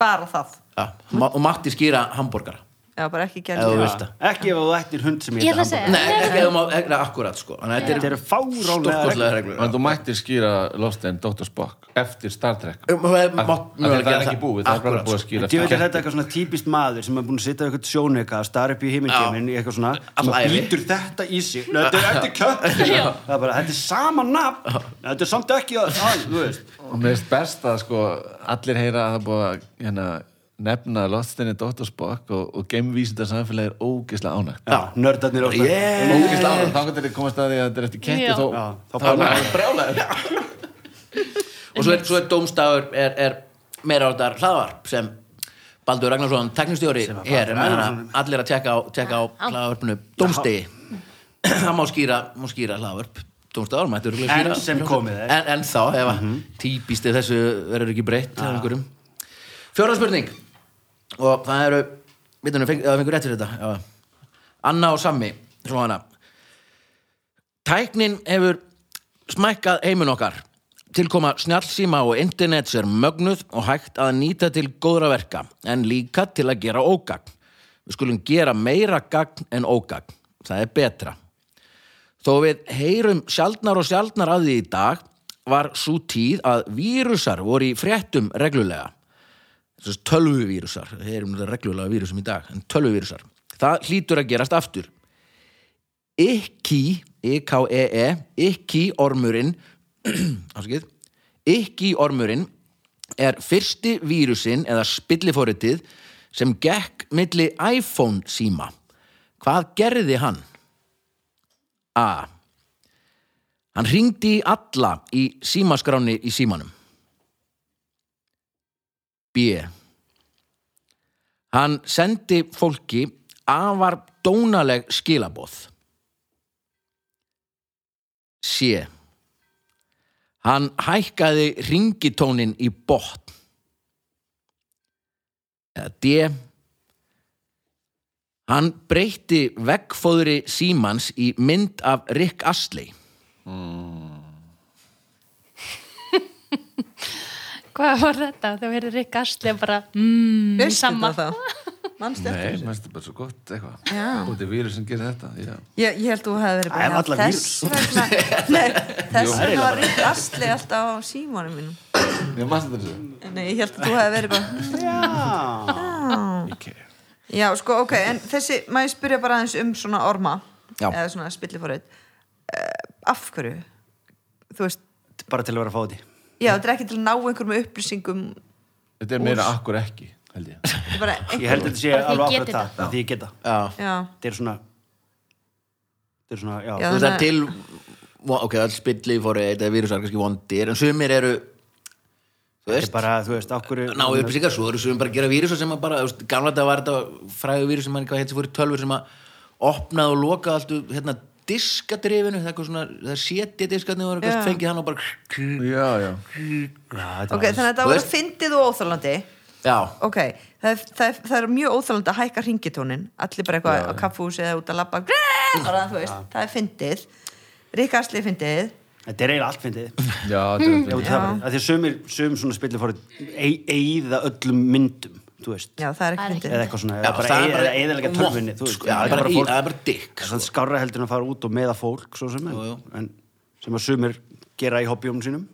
Bara það ja, ma- og mátti skýra hambúrgara Já, bara ekki Ef þú gælu vilt. Veist það. Ekki ef þú ættir hund sem Ég ég ætla að segja. nei, ekki, ekki, ekki, akkurat sko Þannig að þetta er- Þetta eru fáránlega Stórkostlega reglur. reglur En þú mættir skýra loftsteinn Dr. Spock eftir Star Trek Um, það er- Af- má- af því mögulega að Það gera er ekki það. búið, það er bara Akkúrat, búið að sko. skýra Djöfull er þetta eitthvað svona típist maður sem er búin að sitja á eitthvað sjónauka að stara upp í heimilgeiminn í eitthvað svona Alla og ævi. býtur þetta í sig Nei, þetta er eftir kött það er bara, þetta er sama nafn þetta er samt ekki að, að þú veist Og mér finnst best að sko allir heyra að það er búið að hérna, nefna loftsteinni Dr. Spock og, og geimvísindar samfélagi er ógeðslega ánægt já, nördarnir á það Yeah. Ógeðslega ánægt, þá getur þið komast að því að þetta er eftir ketti Já. þó Já, þá þá er það brjálæður og svo er, svo er dómstafur er, er meira áttar hlaðvarp sem Baldur Ragnarsson, teknistjóri er með hana, allir að tjekka á, tjekka á hlaðvarpinu dómstegi það má skýra, má skýra hlaðvarp dómstafur, mættur En sem komið er. Mhm. en, en þá, ef mm -hmm. típisti þessu verður ekki breytt ah. fjóra spurning og það eru við fengur, það fengur rétt fyrir þetta já. Anna og Sammi, svo hana Tæknin hefur smækkað heimin okkar. Tilkoma snjallsíma og internets er mögnuð og hægt að nýta til góðra verka, en líka til að gera ógagn. Við skulum gera meira gagn en ógagn. Það er betra. Þó við heyrum sjaldnar og sjaldnar að því í dag var svo tíð að vírusar voru í fréttum reglulega. Þessast tölvuvírusar, við heyrum það reglulega vírusum í dag, en tölvuvírusar. Það hlýtur að gerast aftur. Ikki, E I-K-E-E, Ikki ormurinn, afskið, Ikki ormurinn er fyrsti vírusin eða spillifóritið sem gekk milli iPhone síma. Hvað gerði hann? A. Hann ringdi í alla í símaskráni í símanum. B. Hann sendi fólki afar dónaleg skilabóð. C. Hann hækkaði ringitónin í botn. Eða D. Hann breytti veggfóðri símans í mynd af Rick Astley. Hvað var þetta? Þau verður Rick Astley bara mm, Veistu sama. þetta þá? Manstu eftir Nei, þessu? mennst það bara svo gott eitthvað. Já. Út í vírusin gerir þetta. Já. Ég, ég held þú hefði verið Æ, bara varla já, þess vegna nei, Jú, þess það er vegna var Rick Astley alltaf á símónum mínum Ég mannst þetta þessu. Nei, ég held að þú hefði verið bara "Hmm, Já. Ekki. Já, sko, ok, en þessi, maður spyrja bara aðeins um svona orma Já. eða svona spillifórið uh, af hverju? Þú veist, Bara til að vera að fá því. já, þetta er ekki til að ná einhverjum upplýsingum Þetta er meira akkur ekki, held ég. þetta er bara Ég einhver, held að þetta sé Bara því alveg ég akkurat geti það. það. Því ég geta. Já. já, Þetta er svona... Þetta er svona, já. Já. Þú veist það til, ok, all spilli fóru eða vírusar kannski vondir, en sumir eru, þú Þetta er veist, bara, þú veist, okkur... ná upplýsingar, svo eru sumir bara að gera vírusar sem að bara, þú veist, gamla þetta var þetta fræðu vírus sem mann, hvað heit sem fóru tölfur sem að opnaði og lokaði allt, hérna, diskadrifinu, það er eitthvað svona, það setja diskarni og Já. fengið hann og bara, Já, já. ok, þannig að þetta Þú var veist- fyndið og óþálandi já, ok, það, er- það, er- það er mjög óþálandi að hækka ringitónin allir bara eitthvað á kaffúsi eða út að labba grrrr, bara, þú veist, það er fyndið ríkastli fyndið Þetta er eiginlega allt fyndið. Já, þetta er Já, þetta. það er bara- af því að sumir, sum svona spillir fóru eigða öllum myndum, þú veist. já, það er Það er ekki ekki. Eða fyndið eitthvað Já, svona, eða bara það er bara- eigðalega tölfunni, þú veist. sko, já, það er bara í- fólk- það er bara dikk, Það er svona skárra heldur en að fara út og meða fólk, svo sem, Jú, jú. en, en sem að sumir gera í hobbyum sínum.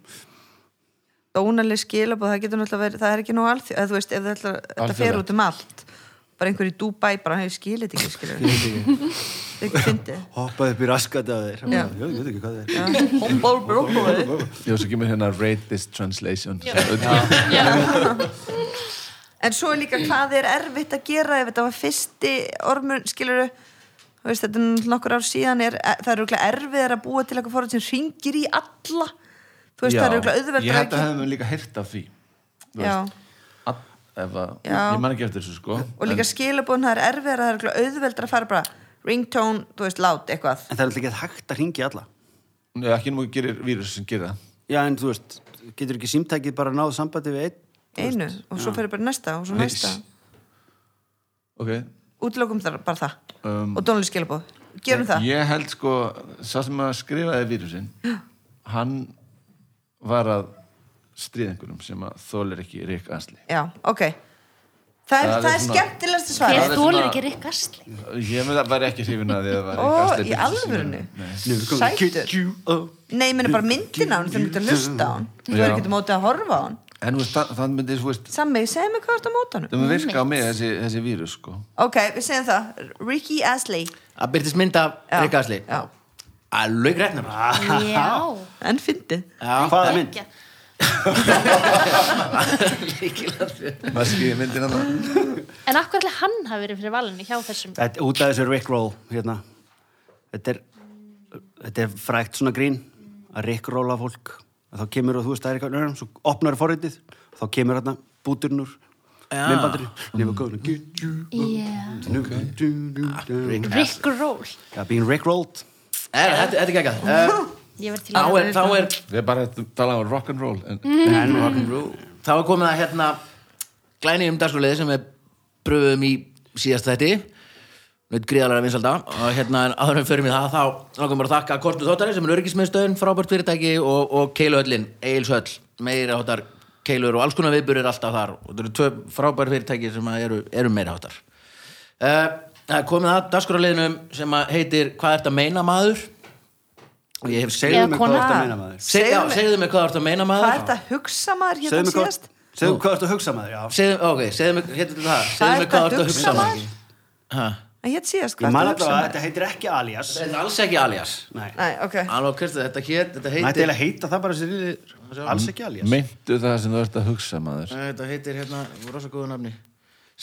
dónaleg skilabóð, það getur náttúrulega verið það er ekki nóg alþjóð, eða þú veist, ef það ætlar- þetta fer Alþjóðlegt. út um allt bara einhver í Dubai, bara hefur skilit ekki skilur þetta er ekki fyndið Hoppaði upp í raskat að þeir. Já. Ég veit ekki hvað þeir. Humble broccoli Já, svo kemur hérna rate this translation. Já. En svo er líka hvað er erfitt að gera ef þetta var fyrsti ormur, skilur veist, þetta er náttúrulega nokkur ár síðan er, eh, það er auðvitað erfiðar að búa til eitthvað fórhald sem ringir í alla þú veist, það er auðvitað auðvelt Ég held að hefðum líka heyrt af því. Þú Já, veist, all, ef að, Já. ég man ekki eftir þessu, sko. og líka skilabóðin það er erfiðar það er auðvitað auðveldar að fara bara ringtone, þú veist, lát, eitthvað En það er alltaf ekki hægt að ringi alla. En, já, ekki nú gerir vírus sem gerir það. Já, en þú veist, getur ekki símtækið bara náð sambandi við einn? einu, og svo fyrir bara næsta og svo Nei, næsta, Ok. útlokum það bara það Um, og dónlega skilabóð, gerum það Ég held sko, sá sem að skrifaði vírusin, hann var að stríða einhverjum sem að þólir ekki Rick Astley. Já, ok Það er, Það er það er svona- skemmtilegsta svar Það Þér er þólir svona- ekki Rick Astley. Ég með það væri ekki hrifin að því að það var Ó, Rick Astley. í birtist símanum. alvörunni? Nei. Sætur Nei, ég meina bara myndin á hann þegar við getum að hlusta á hann Þú verður Já. ekki mótið að horfa á hann En þú veist, það- það myndi, þú veist, Sammi, segðu mig hvað er þetta mótið á hann það myndi virka á mig þessi, þessi vírus, sko. Ok, við segjum það, Ricky Asley það byrtist mynd af Já. Rick Astley. Já. Að lauk réttnum. Já. En fyndið Já. Hvaða mynd? Geggjað. Maður skýði myndin að það. En akkur ætli hann hafi verið fyrir valinu hjá þessum Þetta, út af þessu Rickroll, hérna. Þetta er, þetta er frækt svona grín, að Rickrolla fólk. Að þá kemur og þú veist, það er eitthvað, svo opnar forritið, þá kemur hérna búturinn úr Já. minnbandurinn. Never gonna get you. yeah. Okay. Du, du, du, du. Rick Roll Já, being Rickrolled. Nei, nei, Þetta þetta er geggjað. Eh, Ég verið til Þá að er, þá er Við erum bara að tala um rock'n'roll. En, Mm. Mhm. En rock'n'roll. þá er komið að hérna glæni um dagsfjóliði sem við pröfum í síðast þætti neitt gríðalega vinsalda og hérna en áður en við förum í það þá langum bara að þakka Kortu Þóttari sem er örgismiðstöðin, frábært fyrirtæki og, og Keiluhöllin, Egilshöll meira hóttar keilur og alls konar viðburðir alltaf þar og þetta eru tvö frábær fyrirtæki sem að eru, eru meira hóttar Eh, Það er komið að dagskoruleginum sem að heitir Hvað ert að meina maður? Og ég hef segið Eða segðu mig hvað kona. þú ert að meina maður Seg, já, Segðu mér- segðu mig hvað ert að meina maður Hvað er þetta að hugsa maður segðu hérna mig hvað, síðast? segðu hvað þú ert að hugsa maður já. Segðu, ok, segðu mig, heitir þetta það Hvað ertu Segðu mig hvað að ert að hugsa hugsa maður maður? Ha, Að hérna síðast, ég hvað man er alltaf þetta að hugsa að maður? Þetta er alls ekki alias þetta heitir ekki alias nei, Nei, ok. Alveg, Kristi, þetta hér, þetta mætti heitir eiginlega heita það bara sér yfir alls ekki alias Meintu það sem þú ert að hugsa maður Nei, Þetta heitir hérna, rosa góðu nafni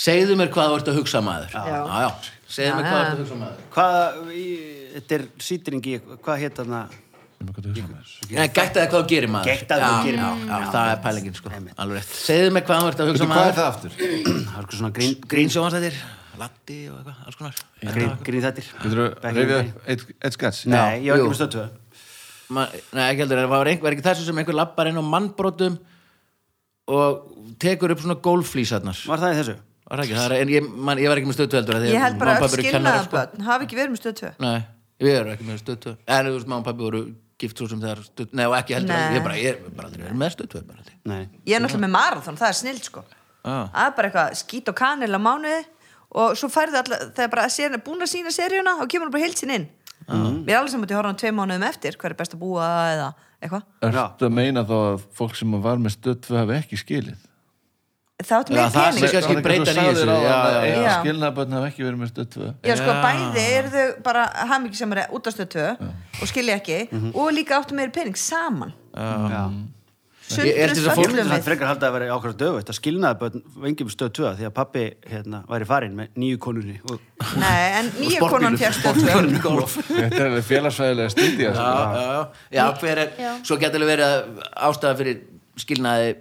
Segðu mér hvað þú ert að hugsa maður Já, já, segðu mér Já, já. hvað þú ert að hugsa maður hvað, í- þetta er sýtringi hvað heit Segðu mér þarna hvað þú ert að hugsa maður Nei, gættaði hvað þú gerir maður Gættaðu hvað þú gerir maður Já, já, það er pælingin sko, alveg rétt Segðu mér hvað þú ert að Veitu hugsa hvað er maður það aftur? það er eitthvað svona grín, Grínsjóhansættir, Latti og eitthvað, alls konar grín, grín þettir Getur þú reyfið eitt, eitt skats? nei, ég var jú. ekki með stöttu Ma, nei, ekki heldur, en það var, einhver, var ekki þessu sem einhver lappar inn á mannbrotum og tekur upp svona gólflýsarnar var var það í þessu? það ekki, það er, en ég, man, ég var ekki með stötu heldur af því að Ég held bara mamma og öll pabbi eru kennarar, skilnaða börn, hafa ekki verið með stöð 2. sko. nei, við erum ekki með stötu en þú veist, mamma og pabbi voru gift svo sem þegar stötu, nei og ekki heldur, Nei. ég bara, ég er bara aldrei verið með stötu bara aldrei nei, Ég er náttúrulega með marathon, það er snill sko. Ah. Það er bara eitthvað skít og kanil á mánuði og svo færðu alltaf, það er bara að sér, búin að sína seríuna og kemur hún bara heilsin inn. Ah. Mér er alveg sem að ég horfa hann tvei mánuðum eftir, hver er best að búa eða eitthvað. Ertu að meina þá að fólk sem var með stöð 2 hafi ekki skilið? Það áttu Já, meira það pening. sé kannski breytan í þessu, já, já, já. Já. Skilnaðabötn hafi ekki verið með stöð 2 Já, sko, bæði eru þau bara hamingi sem er út af stöð 2 og skilja ekki Mhm. og líka áttu meira pening saman. já Ég- er Sundrið þetta Um, fólk- Ég föllum myndi það við. frekar halda að vera ákveða döfut að skilnaði bönn vengjum stöð 2 því að pappi hérna, væri farin með nýju konunni og Nei, en nýja konan fjart stöð 2. sportbílum, gólf Þetta er sko. alveg félagsfæðilega stundið já, já, já, já, hver er Já. svo getur verið að ástæða fyrir skilnaði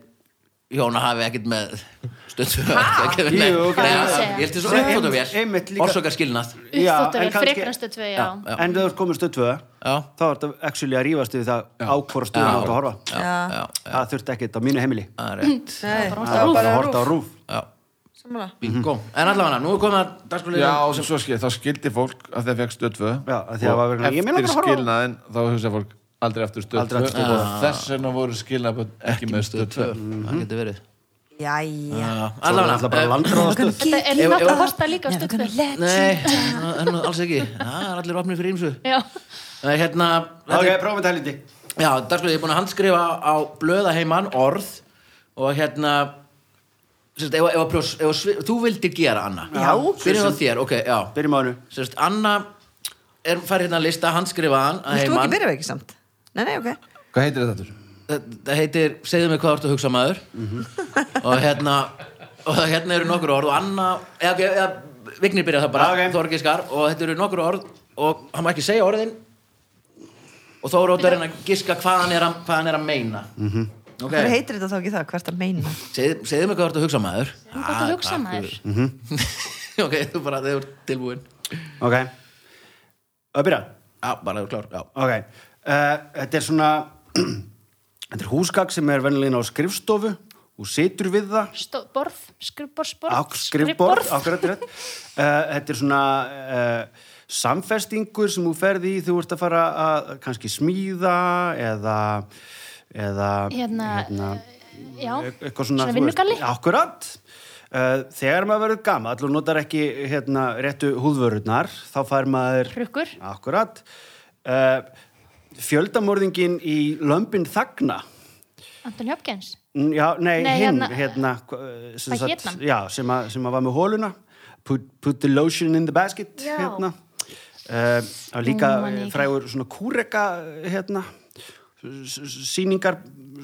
hjóna hafi ekkert með stötu Jú, ok. ég held til svo Sem- einmitt uppfótavél líka- orsakar skilnað en Uppþóttavél, kannski- frekar en stöð 2, já. Já. en þegar þú ert komin stöð 2 Já. þá er þetta actually að rífast yfir það á hvora stöðum þú ert að horfa Já, já, það þurfti ekkert á mínu heimili það er rétt Nei, það það var var bara bara að rúf. horta á rúf já, Sammála. bingo en allavega, nú er komið að dagskolega Já, og sem svo skil, þá skildi fólk að það fekk stöð 2 Já, af því að það var og vegna- ég meina eftir bara að horfa á- skilnaðin þá hugsaði fólk aldrei eftir stöð Aldrei 2 aftur Stöð og þess vegna voru skilnaðabötn ekki með stöð 2 það getur verið Jæja. Mhm. Já, Svo er allavega alltaf bara eh, landráðastöð Þetta er Ef- náttúrulega ef- horta líka á stöð 2. nei, það er nú alls ekki það er allir opnið fyrir ímsu Já, hérna, þetta ok, er- prófum þetta helindi já, dagskolega, ég er búin að handskrifa á blöða heimann orð og hérna sérst, ef, ef, að prjós, ef, að svi- þú vildir gera, Anna Já. byrjum á þér, ok, já byrjum á hannu sérst, Anna er fær hérna að lista, handskrifaðan að Vilt þú ekki heiman. byrja við ekki samt? Nei, nei, ok. Hvað heitir þetta aftur? þetta heitir segðu mig hvað þú ert að hugsa maður Mhm. og hérna og hérna eru nokkur orð og Anna eða, ok, eða Vignir byrja það bara Já, ok. Þorgiskar og þetta eru nokkur orð og hann má ekki segja orðin og þó er óttur en að giska hvað hann er að, hvað hann er að meina mm Mhm. -hmm. ok, Hvað heitir þetta þá ekki það? Hvert að meina? segðu, segðu mig hvað þú ert að hugsa maður þú gott Ah, að hugsa maður. ok, þú bara þegar þú ert tilbúin ok, að byrja já, bara þegar þú ert klár já. ok, uh, þetta er svona þetta er húsgag sem er vennilegin á skrifstofu og situr við það Stó- Borð, skrifborðsborð, Á- skrifborð, akkurat rétt uh, þetta er svona uh, samfestingur sem þú ferði í þú ert að fara að kannski smíða eða eða Hérna, Já, e- eitthvað svona, Svona þú veist, vinnugalli? akkurat uh, þegar maður verður gamall og notar ekki hérna, réttu húðvörurnar þá fær maður hrukkur. akkurat uh, fjöldamorðingin í lömbin þagna Anton Hjöpkens. Mm, Já, nei, Nei, hinn, hérna- hérna, hva- sem Hvað sagt- hét hann? Já, sem að, sem að var með hóluna put, put the lotion in the basket Já. hérna Eh, Það var líka Nú man ég eh, ekki. frægur svona kúreka hérna síningar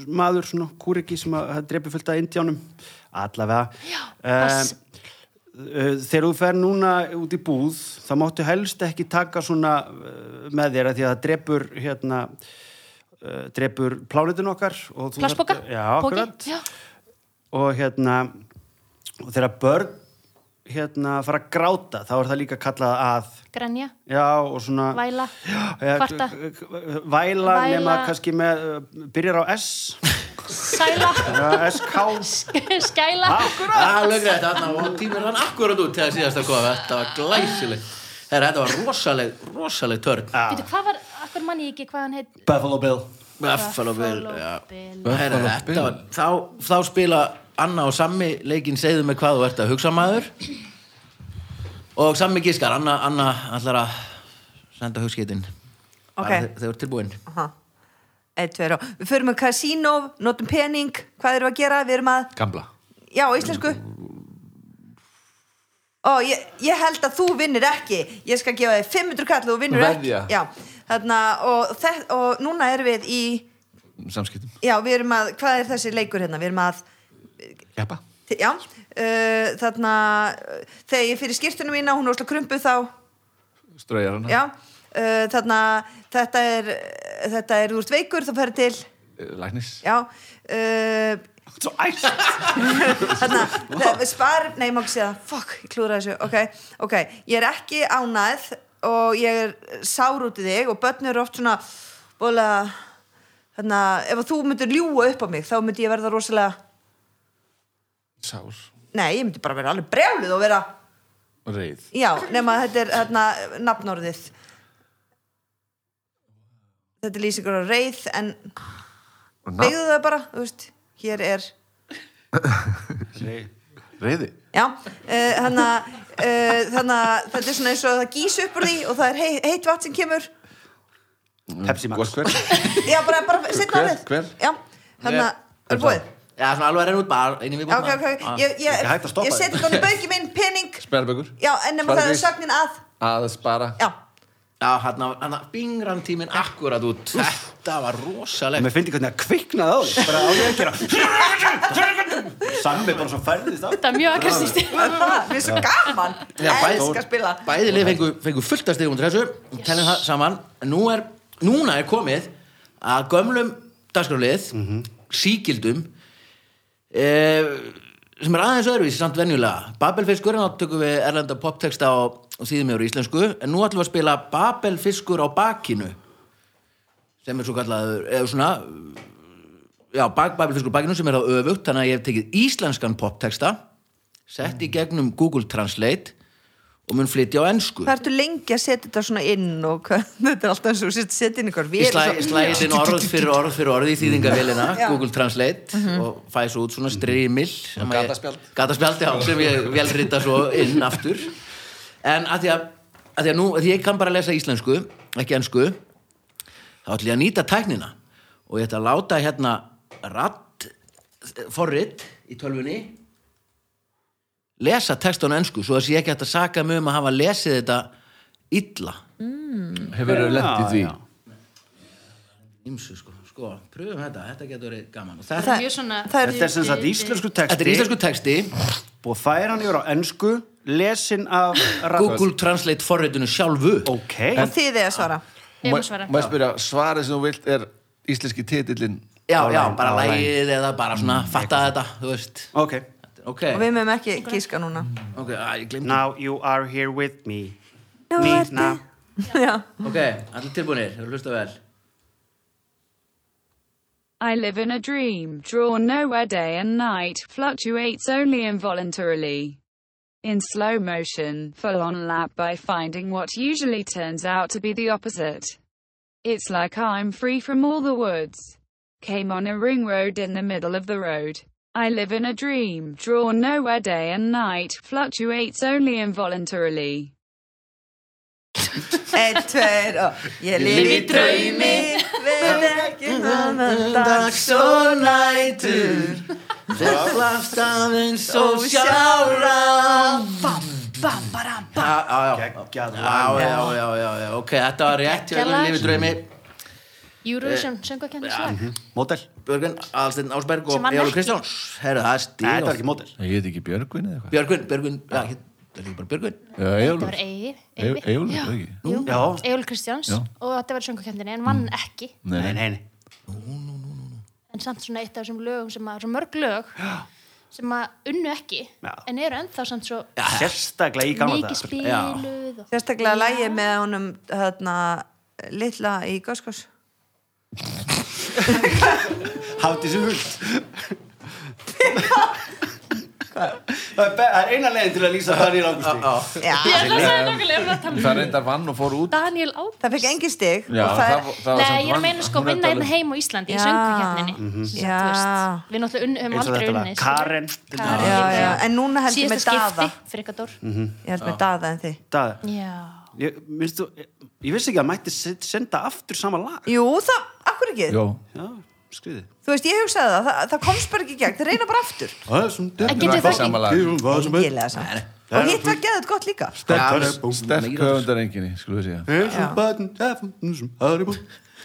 maður svona kúreki sem að drepi fullt af indjánum allavega Eh, Já, pass. Eh, Þegar þú fer núna út í búð þá máttu helst ekki taka svona eh, með þér að því að það drepur hérna eh, drepur plánutun okkar og þú þarft- Plastboka? Já, Poki? akkurat Já, og hérna og þegar börn hérna fara að gráta þá er það líka kallað að grænja, já og svona væla, eh, kvarta, væla, væla nema Væla. kannski með eh, byrjar á S sæla, eh, SK skæla. Það lögur þetta, þannig að tímur hann akkurat út þegar síðast að kofa, þetta var glæsilegt Herra, þetta var rosaleg, rosaleg törn Býtu, hvað var, akkur mann ég ekki hvað hann heit Buffalo Bill Buffalo Bill, já Bill. Herra, þetta var, þá, þá spila Anna og Sammi leikinn segðu mig hvað þú ert að hugsa maður og sammi gískar, Anna, Anna ætlar að senda hugskeitin Ok. þau eru tilbúin Aha. Eitt, tveir og Við förum að kasínó, notum pening Hvað erum við að gera? Við erum að Gamla. Já, á íslensku Ó, ég, ég held að þú vinnir ekki Ég skal gefa þig 500 kall og þú vinnur Veðja. ekki Já, þarna og, þe- og núna erum við í Samskiptum. Já, við erum að, hvað er þessi leikur hérna? Við erum að, Keppa. já uh, Þarna, uh, þegar ég fyrir skýrtunum mína Hún er óslega krumpu þá Ströjar hana. Já, uh, þarna Þetta er, þetta er úr veikur Þú ferð til, Læknis. já uh, Svo æst Þannig að við spar, nei, ég má ekki segja það, fuck, ég klúra þessu, ok, ok, ég er ekki ánæð og ég er sár út í þig og börn eru oft svona, bóla, þannig að ef að þú myndir ljúa upp á mig, þá myndi ég verða rosalega, Sár. nei, ég myndi bara vera alveg brjálið og vera, Reið. já, nema að þetta er, þarna, eh, nafnorðið. Þetta er lýsingur á reið, en Nafn. beigðu það bara, þú veist, hér er, Reiði. Já, eh, þannig að eh, þannig að þetta er svona eins og það gís upp úr því og það er hei, heitt vatn sem kemur Pepsi Sko, Max Gott hver. Já, bara, bara setna Hver- árið hver? Já, þannig að, er búið Já, svona alveg að reyna út bara einu við Já, ok, ok, ég, ég, Ekki hægt að stoppa ég þig. seti þannig bauki minn, pening Sperrbökur. Já, en nema það er sagnin að Að spara. Já, Já, hann að bingran tíminn akkurat út Þetta var rosalegt Mér finnir hvernig að kviknaði á því Bara á því að gera Sammi bara svo færðið þá Þetta er mjög aggressíft. það, við erum svo gaman Já, bæði- Elskar að spila Bæði lið fengu, fengu fullt að stigum til þessu yes. Telum það saman Nú er, Núna er komið að gömlum dagskrálið Mhm. síkildum eh, sem er aðeins öðruvísi samt venjulega Babelfiskur, þá tökum við erlenda poptexta á, á síðumjöru íslensku en nú ætlum við að spila Babelfiskur á bakinu sem er svo kallaður eða svona já, bak, Babelfiskur á bakinu sem er þá öfugt þannig að ég hef tekið íslenskan poptexta sett í gegnum Google Translate og mun flytja á ensku Hvað ertu lengi að setja þetta svona inn og hvað, þetta er alltaf eins og þú setja inn ykkur Ég slæ- Mhm. slæði inn orð fyrir orð fyrir orð í þýðingavélina, Já. Google Translate og fæði svo út svona strimil sem að ég- gataspjald. Gataspjald, já, sem ég velrita svo inn aftur En að því að, að, því að nú, að því ég kann bara að lesa íslensku, ekki ensku þá ætlum ég að nýta tæknina og ég ætla að láta hérna ratt, forrit í tölvunni lesa textan á ensku svo að sé ekki hægt að saka mig um að hafa lesið þetta illa Hefur þau lent í því. Ímsu sko, sko, pröfum þetta, þetta getur verið gaman Og þetta, Það er mjög svona... það er- Þetta er sem sagt íslensku þetta er texti íslensku texti, Búið að færa hann yfir á ennsku Lesin af Google Translate forritinu sjálfu Ok Og þið er að svara Ég má svara. Má ég spyrja, svarið sem þú vilt er íslenski titillin. Já, já, Online, bara online. lægið eða bara svona fatta þetta, þú veist Ok Ok, Og við mögum ekki gíska núna ok, að, ég glemt Now you are here with me Nú Me ertu- now Já, Ok, allir tilbúinir, hefur hlusta vel I live in a dream, drawn nowhere day and night, fluctuates only involuntarily. In slow motion, full on lap by finding what usually turns out to be the opposite. It's like I'm free from all the woods. Came on a ring road in the middle of the road. I live in a dream, drawn nowhere day and night, fluctuates only involuntarily. Eitt, tveir og Ég lifi í draumi Verð ekki náðan dags og nætur Það flast aðeins og sjára Já, já, Geggjað já, já, já, já, já, ok, þetta var rétt hjá Geggjað lag. lífið draumi Eh, Eurovision, söngvakennislag. Mhm. Mótel Björgvin, Alsteinn Ásberg og Sem hann Jólu ekki. Kristjáns Herra, það er Nei, þetta var stíl ekki mótel Ég heit ekki Björgvin eða eitthvað. Björgvin, Björgvin, já, hér- þetta er ekki bara Björgvin Þetta var Björgvin. Egil. Egil, ekki. Já Egil Kristjáns Já. og þetta var söngvakenninni en vann ekki Nei, Nei, nei. nei, nei en samt svona eitt af þessum lögum sem að, svo mörg lög sem að unnu ekki Já. en eru ennþá samt svo Sérstaklega í gamla mikið dag spiluð og... Sérstaklega lægið með honum hérna, litla í Goskos Hafði þessu hult Það er be- það er eina leiðin til að lýsa Daniel Augusti. Já, það sagði nokkulega um að tala um Það reyndar vann og fór út Daniel Ágúst. það fekk engin stig Já, og það er- var Nei, samt ég er að vann- meina sko hún er að vinna tala um- hérna heima á Íslandi í Já. sönguhjarninni Sem Já. þú veist, Við náttúrulega unn, höfum Eins og aldrei þetta lag. unni Karen. Karen Já, já, en núna held ég með Síðasta skipti, Daða. Frikador ég held með daða en þið Það, Já, ég, minnst þú, ég, ég vissi ekki að mætti se- senda aftur sama lag. Jú, það, akkur ekki Jó, Já, skriði. Þú veist, ég hugsaði það, það, það komst bara ekki í gegn, það reyna bara aftur Það er sem En getur það ekki- Engilega samt Og hitt var geðið gott líka sterk höfundar enginni, skulum við segja Já, mér finnst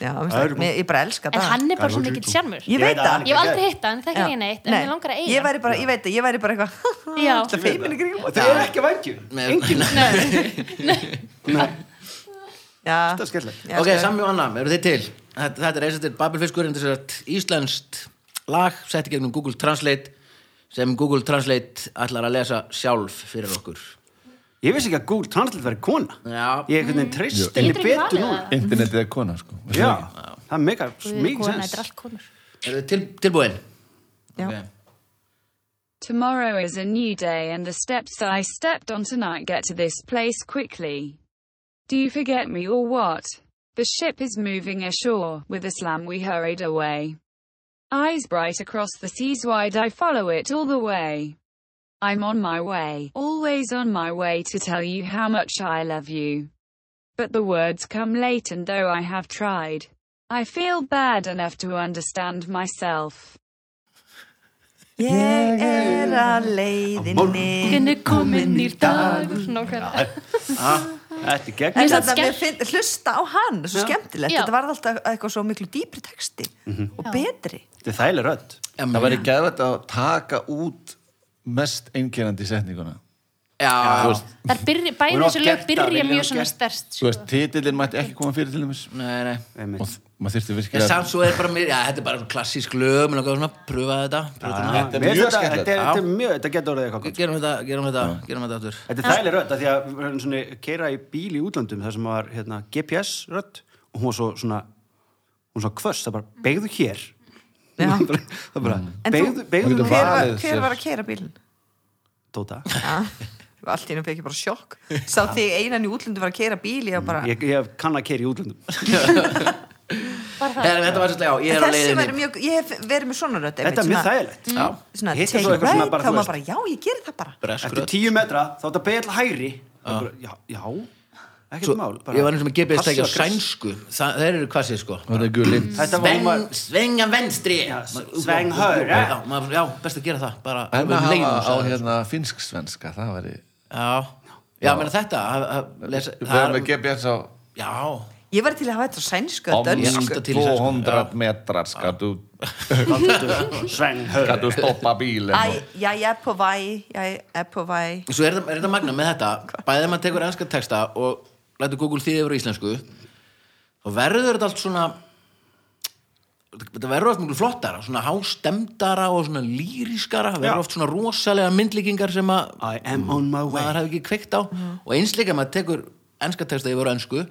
það- mér- ég bara elska en daða hann er bara svo mikill sjarmur Ég veit það Ég hef aldrei hitt hann, þekki hann neitt En Nei. ég langar að Ég eiga hann. væri bara, ég veit það, ég væri bara eitthvað Já. Það feimin í kringum Þau eru ekki vængjur. Engin Já, Það er skemmtilegt. já, Ok, sko. Sammi og Anna, eru þið til? Þetta, þetta er eins og til Babelfiskurinn þess að íslenskt lag sett í gegnum Google Translate sem Google Translate ætlar að lesa sjálf fyrir okkur Ég vissi ekki að Google Translate verið kona. Já. Ég einhvern Mm. veginn treyst Ég henni getur ekki betur valið núna. það. Internetið er kona, sko veistu Já, það ekki? það er mega, Guð, mikið kona, þetta er sens. allt konur Eru þið til, tilbúin? Já. Ok. Tomorrow is a new day and the steps I stepped on tonight get to this place quickly. Do you forget me or what? The ship is moving ashore, with a slam we hurried away. Eyes bright across the seas wide I follow it all the way. I'm on my way, always on my way to tell you how much I love you. But the words come late and though I have tried, I feel bad enough to understand myself. Ég er að leiðinni Hvernig komin nýr dagur Nákvæmlega Ah, Þetta er En gegn. samt þetta með skemmt- finn, hlusta á hann, svo skemmtilegt Já. Þetta varð alltaf eitthvað svo miklu dýpri texti og betri Þetta er þægileg rödd. Það væri geðvægt að taka út mest einkennandi setninguna Já, Þú veist, Það byrja, bæði Hún er oft þessu lög gert það, byrja Lilja, hún mjög er svona gert. stærst Þú veist, titillin mætti ekki koma fyrir til dæmis nei, nei og Einmitt. þ- maður þyrfti En virkilega samt svo er bara mér, já, þetta er bara klassísk lög, mér langar svona að pröfa þetta, pröfa þetta. Ah. Mér Ah. Þetta er finnst mjög Þetta skemmtilegt þetta er þetta er mjög, þetta getur orðið eitthvað. gott. Gerum þetta, gerum þetta, gerum þetta aftur. Þetta er þægileg rödd, af því að við erum svona keira í bíl í útlandum þar sem var hérna, GPS rödd og hún var svo svona hún var svona kvöss, það bara beigðu hér Já. það bara, það bara Ah. En þú- beigðu, beigðu Hún nú getur Hver hér var, Valið hver sér. var að keira bílinn? Tóta, Já, allt í hennu fekk ég bara sjokk Sá þig einan í útlundu var að keira bíl Ég var bara, ég, ég kann að keira í útlandum Nei, nei, þetta var svolítið, já, ég er á þessi væri leiðinni. mjög Ég hef verið með svona rödd einmitt, Þetta er mjög svona- þægilegt Já, Svona, Hitt er take svo it eitthvað svona right, bara, þá þú maður veist. bara, já, ég gerir það bara breskur Eftir tíu metra þá þetta beigðu til hægri Það bara, já, já, ekkert mál bara, Ég var eins og með GPS tækja á passi og gress. sænsku, Þa, þeir eru hvað sér sko. Og þetta er gulinn Þetta var Sven, hún var svenga venstri Já, s- Maður- sveng högra. Já, maður- já, best að gera það bara En að alveg hafa leiðum, á sagði hann. hérna finnsk-svenska, það væri um Já, já, menn þetta að- að lesa- Við það erum er- með GPS á Já, Ég var til að hafa þetta á sænsku Om og dönsku. Ég er alltaf til í sænsku. 200 metrar skal du, sveng högri skal du stoppa Æ, bílinn og- já, ég er på væ, ég er på væ svo er, þetta- er þetta magna með þetta bæðið maður tekur enska texta og lætur Google þýði yfir á íslensku þá verður þetta allt svona þetta verður allt mjög flottara svona hástemdara og svona lýrískara það Já. verður oft svona rosalega myndlíkingar sem að I am on my way maður hefði ekki kveikt á og eins líka maður tekur enska texta yfir á ensku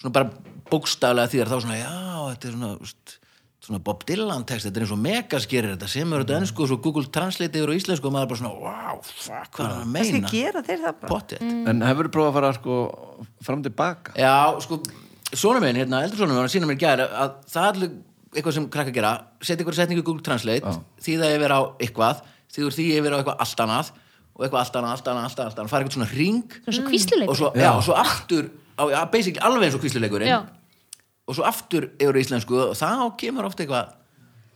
svona bara bókstaflega því þá svona já, þetta er svona veist, svona Bob Dylan texta, þetta er eins og mega skerir þetta sem er þetta ensku og svo Google Translate yfir á íslensku og maður er bara svona, wow, fuck, hvað er hann að Kannski meina gera þeir það bara pottet En hefur þú prófað að fara sko fram tilbaka? Já, sko, sonur minn, hérna, eldur sonur minn, hann sýnir mér í gær að- að það er allir eitthvað sem krakka gera, setja ykkur setningu í Google Translate, Já. þýða yfir á eitthvað, þýður því yfir á eitthvað allt annað og eitthvað allt annað, allt annað, allt annað, allt annað, fara eitthvað svona ring Svona svo kvísluleikur. og svo, já, og svo aftur, á, já, basically alveg eins og kvísluleikurinn Já. og svo aftur yfir á íslensku og þá kemur oft eitthvað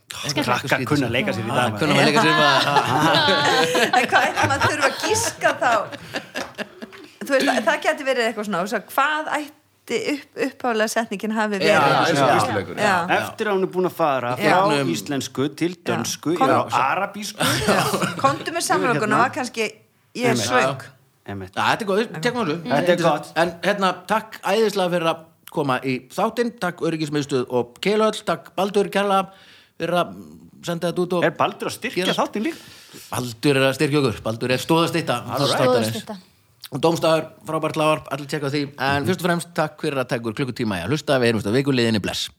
Krakka kunna að leika sér í dag maður. kunna maður leika sér um að En hvað ætti maður þurfa að gíska þá? Þú veist, það, það geti verið eitthvað svona svo, Hvað ætti upp, uppálega setningin hafi verið? Já, eins og Já. vísluleikur Já. Eftir að hún er búin að fara Já. frá íslensku til dönsku Kom- yfir á arabísku Komdu með samlokuna, Hérna. var kannski ég er Einmitt. svöng Einmitt. Já, þetta er góð, tekum við þessu Þetta er gott. En hérna, takk æðislega fyrir að koma í þáttinn Takk öryggismiðstöð og keilöll Takk Baldur Kjalla fyrir að senda þetta út og Er Baldur að styrkja Gerast- þáttinn líka? Baldur er að styrkja okkur Baldur er stóðastýtta Stoðastytta. Og Dómstafur, frábært lágar, allir tjekka á því En fyrst og fremst, takk fyrir að taka ykkur klukkutíma í að hlusta Við erum þetta vikuliðinni, bless